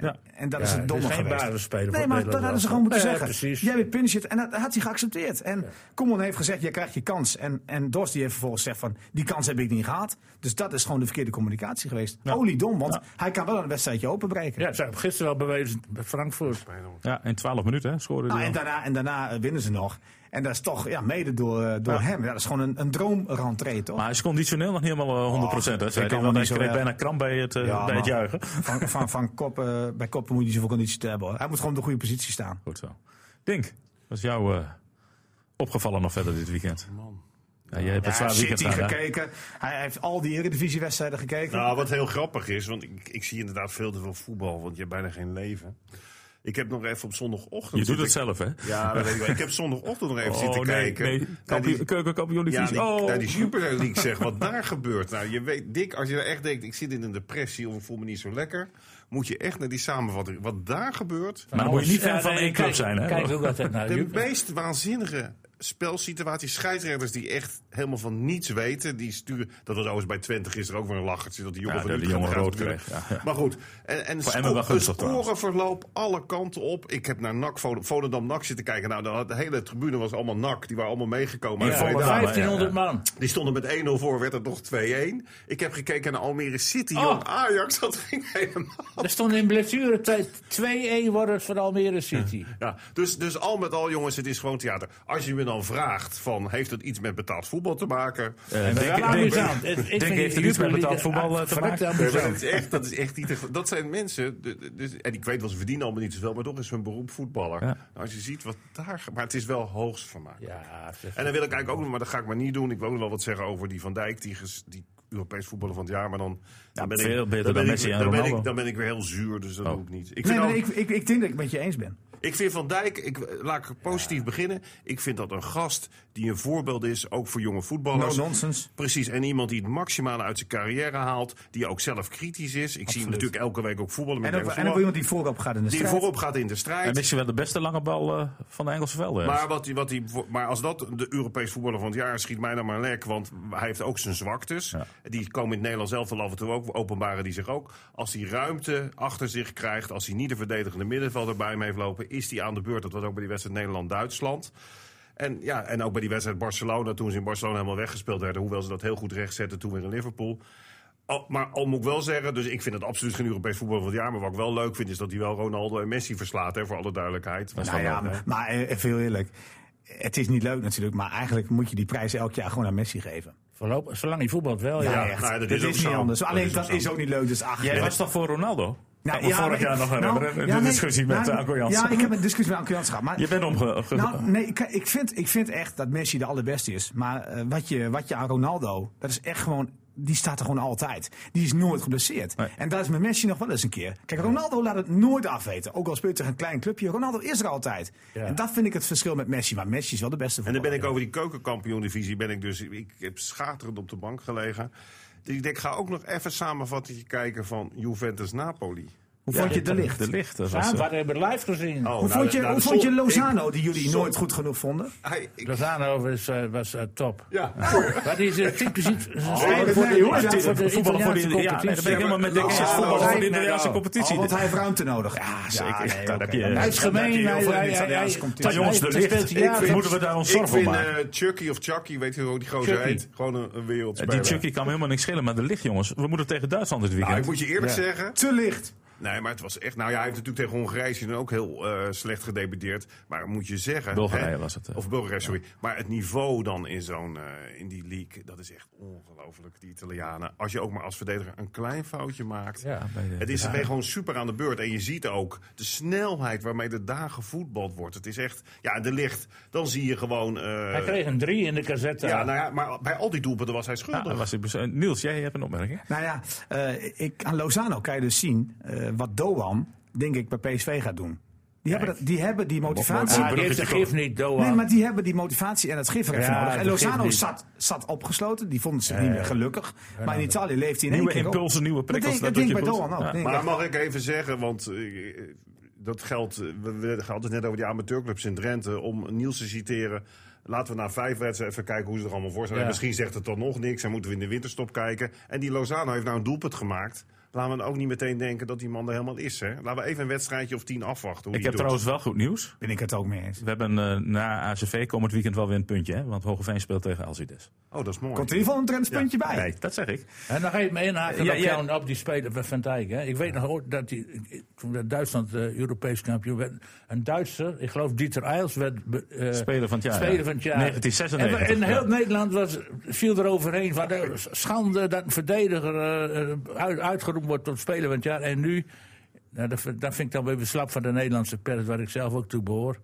En, Ja. en dat is Ja, het het is domme geen geweest. basisspeler voor Nee, het maar dat Nederlands hadden ze gewoon moeten elftal. zeggen. Nee, precies. Jij bent pinzitter. En dat had hij geaccepteerd. En Koeman heeft gezegd, jij krijgt je kans. En, en Dorst die heeft vervolgens gezegd van, die kans heb ik niet gehad. Dus dat is gewoon de verkeerde communicatie geweest. Oliedom, want hij kan wel een wedstrijdje openbreken. Ja, ze hebben gisteren wel bewezen bij Frankfurt. ja, in 12 minuten hè, scoorde Nou, hij en, al. daarna, en daarna eh, winnen ze nog. En dat is toch ja, mede door, eh, door hem. Ja, dat is gewoon een, een droomrentree, toch? Maar hij is conditioneel nog niet helemaal eh, 100 hè? Zei ik kan hij, wel want hij niet zo kreeg erg. bijna kramp bij het, eh, Ja, bij het maar- juichen. Van, van, van kop, eh, bij koppen moet je niet zoveel conditie te hebben. Hoor. Hij moet gewoon op de goede positie staan. Goed zo. Dink, wat is jou eh, opgevallen nog verder dit weekend? Ja, jij hebt het Hij zwaar heeft weekend City gedaan, hè? gekeken. Hij heeft al die Eredivisiewedstrijden gekeken. Nou, wat heel grappig is, want ik, ik zie inderdaad veel te veel voetbal, want je hebt bijna geen leven. Ik heb nog even op zondagochtend. Je doet zitten- het zelf, hè? Oh, Ja, dat weet ik wel. Ik heb zondagochtend nog even zitten nee, kijken. nee. Naar Kampioen, die- keukenkampioen ja, divisie. die, oh. naar die Super League zeg, wat daar gebeurt. Nou, je weet, Dick, als je daar echt denkt, ik zit in een depressie of ik voel me niet zo lekker, moet je echt naar die samenvatting. Wat daar gebeurt, Maar dan moet je niet fan Ja, van nee, één club kijk- zijn, hè? Kijk nou, ook altijd naar de Juve. meest waanzinnige spelsituaties, scheidsrechters die echt helemaal van niets weten, die sturen. Dat was overigens bij Twente gisteren ook weer een lachertje dat die jongen Ja, van dat die Utrecht jongen gaat rood gebeuren. kreeg, Maar goed, en, en Voor sco- Emmen wel de gunstig trouwens. scorenverloop alle kanten op. Ik heb naar NAC Vol- Volendam NAC zitten kijken. Nou, dan had- de hele tribune was allemaal NAC, die waren allemaal meegekomen. Ja, uit Volendam, Breda. 1500 man. Die stonden met 1-0 voor, werd het nog 2-1. Ik heb gekeken naar Almere City, Oh. jong Ajax, dat ging helemaal. Er stond in blessuretijd 2-1 worden het voor Almere City. Ja, dus, dus al met al, jongens, het is gewoon theater. Als je me dan vraagt: van, heeft het iets met betaald voetbal te maken? Eh, Dat is Denk- wel Denk- amusant. Ik- ik vind Denk die heeft er niets met Jupiler betaald League voetbal eh, te verrekte maken. Nee, maar amusant. dat, is echt, dat is echt niet. te ge- Dat zijn mensen. de- de- Dus, en ik weet wel, ze verdienen allemaal niet zoveel, maar toch is hun beroep voetballer. Ja. Nou, als je ziet wat daar. ge- Maar het is wel hoogst vermaak. Ja, zeg. En dan wil ik eigenlijk ook nog, maar dat ga ik maar niet doen. Ik wil ook nog wel wat zeggen over die Van Dijk, die, ges- die Europees voetballer van het jaar. Maar dan, dan ben veel beter ben dan ik- Messi en dan ben, Ronaldo. Oh. ik, dan ben ik weer heel zuur, dus dat doe ik niet. Ik nee, vind maar ook- ik, ik, ik denk dat ik met je eens ben. Ik vind Van Dijk, ik, laat ik positief beginnen. Ik vind dat een gast die een voorbeeld is, ook voor jonge voetballers. No nonsense. Precies, en iemand die het maximale uit zijn carrière haalt. Die ook zelf kritisch is. Ik zie hem natuurlijk elke week ook voetballen met En ook, jonge en ook voetballers. iemand die voorop gaat in de Die strijd. voorop gaat in de En strijd. misschien wel de beste lange bal eh, van de Engelse velden. Maar, wat die, wat die, maar als dat de Europees voetballer van het jaar is, schiet mij dan maar lek. Want hij heeft ook zijn zwaktes. Die komen in het Nederlands zelf wel af en toe ook. Openbaren die zich ook. Als hij ruimte achter zich krijgt. Als hij niet de verdedigende middenvelder bij hem heeft lopen. Is hij aan de beurt. Dat was ook bij die wedstrijd Nederland-Duitsland. En, ja, en ook bij die wedstrijd Barcelona. Toen ze in Barcelona helemaal weggespeeld werden. Hoewel ze dat heel goed recht zetten toen weer in Liverpool. Al- maar al moet ik wel zeggen, dus ik vind het absoluut geen Europees voetballer van het jaar. Maar wat ik wel leuk vind, is dat hij wel Ronaldo en Messi verslaat, hè, voor alle duidelijkheid. Nou ja, maar, maar eh, even heel eerlijk. Het is niet leuk natuurlijk, maar eigenlijk moet je die prijs elk jaar gewoon aan Messi geven. Voorlopig, zolang hij voetbalt wel, ja. Ja, nou echt. ja, dat dat, is is, ook niet zo. anders. Dat Alleen is ook dat zo. is ook niet leuk, dus ach. Jij ja. was toch voor Ronaldo? Nou, Kan me vorig maar jaar ik- nog nou, herinneren. ja, de nee, discussie met nou, Arco Jansen. Ja, ik heb een discussie met Anko Jansen gehad. Maar, Je bent omge... ge- nou, nee, ik, ik, vind, ik vind echt dat Messi de allerbeste is. Maar eh, wat, je, wat je aan Ronaldo, dat is echt gewoon... Die staat er gewoon altijd. Die is nooit geblesseerd. Nee. En dat is met Messi nog wel eens een keer. Kijk, Ronaldo laat het nooit afweten. Ook al speelt hij een klein clubje. Ronaldo is er altijd. Ja. En dat vind ik het verschil met Messi. Maar Messi is wel de beste En dan ben ik voetballer. over die keukenkampioen-divisie, ben ik dus, ik heb schaterend op de bank gelegen. Dus ik denk, ga ook nog even samenvatting kijken van Juventus-Napoli. Hoe vond je de licht? De licht. dat was, Samen, eh, wat hebben we live gezien? Oh, Oh, Hoe nou, vond je, nou, hoe zo- vond je Lozano, die jullie zo- nooit goed genoeg vonden? Ik, hij- ik- Oh. Lozano was, eh, was eh, top. ja. Wat is het typisch iets? Oh, Ze nee, spelen voor de nee, hoor. Italiaanse- voor de Voetballen voor de Italiaanse ja, nee, dat ben ik competitie. helemaal met Dick. Ja, Zit maar- Voetballen voor Nee, de nee, Italiaanse nou. competitie. Oh, want hij heeft ruimte nodig. Ja, zeker. *laughs* nee, Daar oké. heb je- Dan Hij is gemeen. heel Hij, veel hij, hij, Italiaanse competitie. Maar jongens, de hij speelt licht. hier Ik altijd- Moeten we daar ons ik zorgen vind om maken? eh, Chucky of Chucky, weet je hoe die gozer Chucky. heet, gewoon een, een wereldspeler. Die Chucky kan me helemaal niks schelen, maar de licht, jongens. We moeten tegen Duitsland dit Nou, weekend. ik moet je eerlijk zeggen, Te licht. nee, maar het was echt, nou ja, hij heeft natuurlijk tegen Hongarije dan ook heel eh, slecht gedebuteerd. Maar moet je zeggen, Bulgarije hè, was het, eh. Of Bulgarije, sorry. Maar het niveau dan in zo'n, eh, in die league, dat is echt ongelooflijk, die Italianen. Als je ook maar als verdediger een klein foutje maakt. Ja, bij de- Het is ben je gewoon super aan de beurt. En je ziet ook de snelheid waarmee de dagen voetbald wordt. Het is echt, ja, de licht. Dan zie je gewoon. eh, Hij kreeg eh. een drie in de cassette. ja, nou ja, maar bij al die doelpunten was hij Ja, dat schuldig. was ik bes- eh, Niels, jij hebt een opmerking. Nou ja, eh, ik, aan Lozano kan je dus zien eh, wat Doan, denk ik, bij PSV gaat doen. Die hebben, dat, die, hebben die motivatie. Ah, die heeft de gif niet, Doan. Nee, maar die hebben die motivatie en het gif er even Ja, nodig. En dat geeft Lozano niet. zat, zat opgesloten. Die vonden ze niet meer gelukkig. Maar in Italië leeft hij in één nou, Nieuwe keer op. impulsen, nieuwe prikkels, Dat dat denk doet ik bij je goed. Doan ook. Ja. denk ik. Maar mag ik even zeggen, want eh, eh, dat geldt. eh, We, we hadden het net over die amateurclubs in Drenthe. Om Niels te citeren. Laten we na vijf wedstrijden even kijken hoe ze er allemaal voor staan. Ja. En Misschien zegt het dan nog niks en moeten we in de winterstop kijken. En die Lozano heeft nou een doelpunt gemaakt. Laten we dan ook niet meteen denken dat die man er helemaal is. Hè? Laten we even een wedstrijdje of tien afwachten. Hoe Ik die heb doet. trouwens wel goed nieuws. Ben ik het ook mee eens. We hebben eh, na ACV komend weekend wel weer een puntje, hè? want Hogeveen speelt tegen Alcides. Oh, dat is mooi. Komt er in ieder geval een trendpuntje bij. Nee, dat zeg ik. En nog even inhaken Ja, op, ja. jou, op die speler van Van Dijk. Hè. Ik weet nog ooit dat die, ik- ik- toen werd Duitsland eh, Europees kampioen werd. Een Duitser, ik geloof Dieter Eils, werd be- eh, Speler van het jaar, speler ja. van het jaar. 1996, En, we- en heel ja. Nederland was, viel er overheen van eh, schande dat een verdediger eh, eh, uit- uitgeroepen wordt tot speler van het jaar. En nu, nou, dat, vind- dat vind ik dan weer slap van de Nederlandse pers, waar ik zelf ook toe behoor.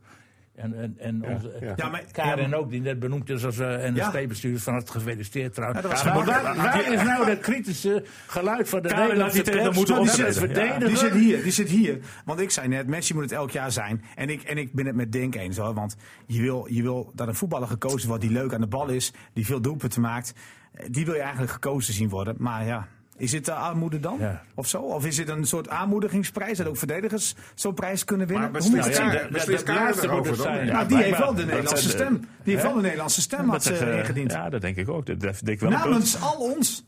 En, en, en onze Ja, maar- Karin ook, die net benoemd is als eh, en de Ja. stedenbestuurders van harte gefeliciteerd trouwens. Ja, dat was Maar goed. waar- waar is nou dat kritische geluid van de Kamer Nederlandse laat die tegen pers? moeten Dat het opzetten. Ja. verdedigen. Die zit hier, die zit hier. Want ik zei net, Messi moet het elk jaar zijn. En ik, en ik ben het met Denk eens hoor. Want je wil, je wil dat een voetballer gekozen wordt die leuk aan de bal is, die veel doelpunten maakt. Eh, Die wil je eigenlijk gekozen zien worden. Maar ja, is het de armoede dan? Ja. Of zo? Of is het een soort aanmoedigingsprijs dat ook verdedigers zo'n prijs kunnen winnen? Maar Hoe moet beslist je het Nou zien? ja, dat- Kamer- beslist dat Kamer laatste moet erover het dan? zijn. Ja. maar die maar- heeft wel de dat Nederlandse zijn de- stem. Die heeft wel de Nederlandse stem had ze eh, ingediend. Nou, Ja, dat denk ik ook. Dat heeft Dick wel een punt. Namens al ons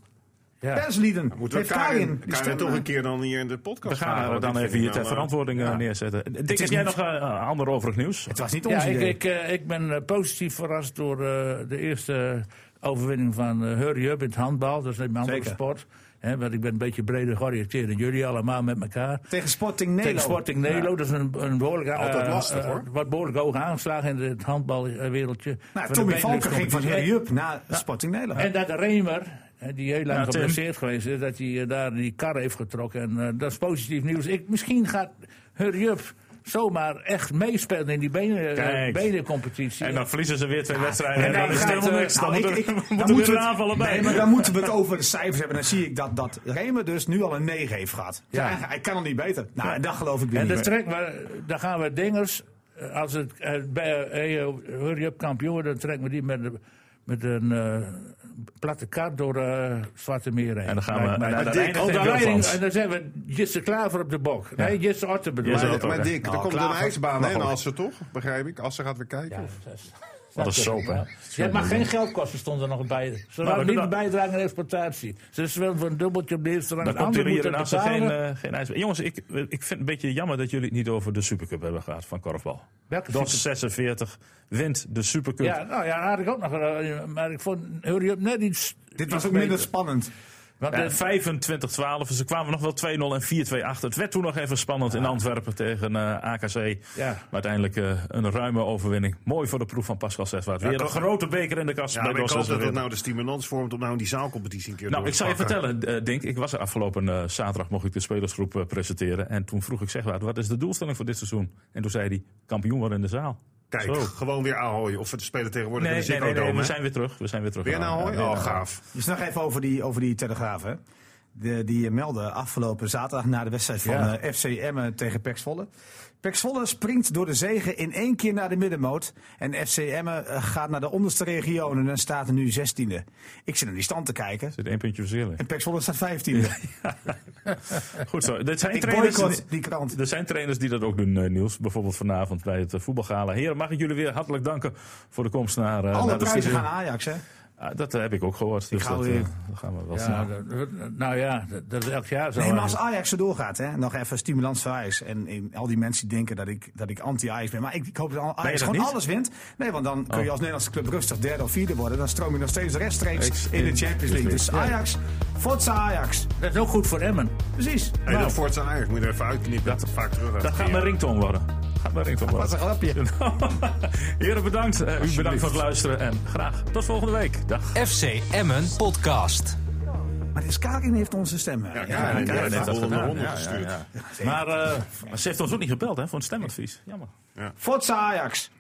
Ja. perslieden. Moeten we heeft Karin, Karin Karin, die stem toch aan. een keer dan hier in de podcast We gaan halen, haar want dan dit even vind hier ik ter nou, eh, verantwoording eh, neerzetten. Dick, heb is jij niet- nog eh, ander overig nieuws? Het was niet ons Ja, ik, idee. ik, eh, ik ben eh, positief verrast door eh, de eerste overwinning van eh, Hurry Up in het handbal. Dat is een andere Zeker. sport. Hè, want ik ben een beetje breder georiënteerd dan jullie allemaal met elkaar. Tegen Sporting Nederland. Tegen Sporting Nelo, dat is een, een behoorlijk... Altijd eh, lastig, eh, hoor. Wat behoorlijk hoog aangeslagen in het handbalwereldje. Van Nou, de Tommy Benelux Valken ging van competitie. Harry Up naar Sporting Nederland. En dat Remer, hè, die heel lang Ja, Tim. geblesseerd geweest is, dat hij eh, daar die kar heeft getrokken. En eh, dat is positief nieuws. Ik, misschien gaat Hurry Up zomaar echt meespelen in die benen, eh, Kijk. benencompetitie. En dan verliezen ze weer twee wedstrijden. En En dan dan is het gaat, helemaal eh, niks. Dan nou, moeten ik- ik- we- *laughs* dan moeten we moeten er we- aanvallen bij. Nee, maar dan moeten we het over de cijfers hebben. Dan zie ik dat, dat Remer dus nu al een 9 heeft gehad. Ja. Ja. Hij kan al niet beter. Nou, en dat geloof ik weer En niet dan, meer. trek, maar, dan gaan we dingers. eh, Als het eh, bij eh, eh, hurry up kampioen, dan trekken we die met, de- met een eh, platte kaart door eh Zwarte Meer heen. En dan gaan we- Lijkt mij. en dan Maar eindigt Dick, in dan eindigen- Wilfans. en dan zijn we Jesse Klaver op de bok. Nee, Jesse Otter bedoel Jesse ik. Otter. Maar, maar Dick, er komt een Klaver. ijsbaan Mag hè, in ook. Assen, toch? Begrijp ik? Assen gaat weer kijken. Ja, of- dat is- Wat een soap, hè? Ja, maar geen geld kosten stond er nog bij. Ze dat- waren niet dat- bijdragen aan exploitatie. Ze is wel voor een dubbeltje op de eerste rang. Dan De komt er ander hier in moet het Assen geen, betalen. eh, geen ijsbaan. Jongens, ik, eh, ik vind het een beetje jammer dat jullie het niet over de Supercup hebben gehad van korfbal. Welke Dot 46 wint de Supercup. Ja, nou ja, daar had ik ook nog. eh, Maar ik vond Hurry Up net iets. Dit iets was ook beter. minder spannend. Want Eh, eh, 25-12, ze kwamen nog wel 2-0 en 4-2 achter. Het werd toen nog even spannend in Antwerpen tegen eh, AKC. Ja. Maar uiteindelijk eh, een ruime overwinning. Mooi voor de proef van Pascal Seswaard. Weer ik een hoop- grote beker in de kast Ja, bij maar ik DOS hoop dat dat 46. nou de stimulans vormt om nou in die zaalcompetitie een keer Nou, door ik te zal je pakken. vertellen, eh, Dink. Ik was er afgelopen eh, zaterdag, mocht ik de spelersgroep eh, presenteren. En toen vroeg ik Zegwaard, wat is de doelstelling voor dit seizoen? En toen zei hij, kampioen worden in de zaal. Kijk, Zo. gewoon weer Ahoy. Of we spelen tegenwoordig in Nee, de nee, Ziggo nee, nee, Dome, we hè? zijn weer terug. We zijn weer terug. Weer naar Ja, Ahoy? weer naar Oh, Ahoy. gaaf. Dus nog even over die, over die telegraaf. Hè. De, die melden afgelopen zaterdag na de wedstrijd van Ja. eh, FC Emmen tegen Pek Zwolle. Pek Zwolle springt door de zegen in één keer naar de middenmoot. En FC Emmen eh, gaat naar de onderste regionen en staat er nu 16e. Ik zit naar die stand te kijken. Er zit één puntje verschil in. En Pek Zwolle staat 15e. Goed zo. Er zijn, Ik trainers, boycott die krant. er zijn trainers die dat ook doen, eh, Niels. Bijvoorbeeld vanavond bij het eh, voetbalgala. Heren, mag ik jullie weer hartelijk danken voor de komst naar, eh, Alle naar de prijzen studio. gaan Ajax, hè? Ah, dat eh, heb ik ook gehoord. Dus ga dat, weer- eh, dat gaan we wel zien. Ja, dat- nou ja, dat, dat is elk jaar zo. eh, Nee, maar als eigenlijk. Ajax zo doorgaat, hè, nog even stimulans voor Ajax. En in- al die mensen die denken dat ik, dat ik anti-Ajax ben. Maar ik, ik hoop dat Ajax je dat gewoon niet? alles wint. Nee, want dan kun je als Nederlandse club rustig derde of vierde worden. Dan stroom je nog steeds rechtstreeks Ex- in de Champions League. Dus Ajax, Forza Ajax. Dat is ook goed voor Emmen. Precies. Hey, dat Forza Ajax moet je er even uitknippen. Dat vaak terug. aan Dat het gaat keren. mijn ringtone worden. Gaat mijn ringtone worden. een grapje. *laughs* Heren, bedankt. Eh, u bedankt voor het luisteren. En graag tot volgende week. Dag. FC Emmen podcast. Maar de Karin heeft onze stemmen. Ja, ja, ja, heeft dat gedaan. ronde Ja, gestuurd. Maar eh, ze heeft ons ook niet gebeld hè, voor een stemadvies. Jammer. Forza Ajax.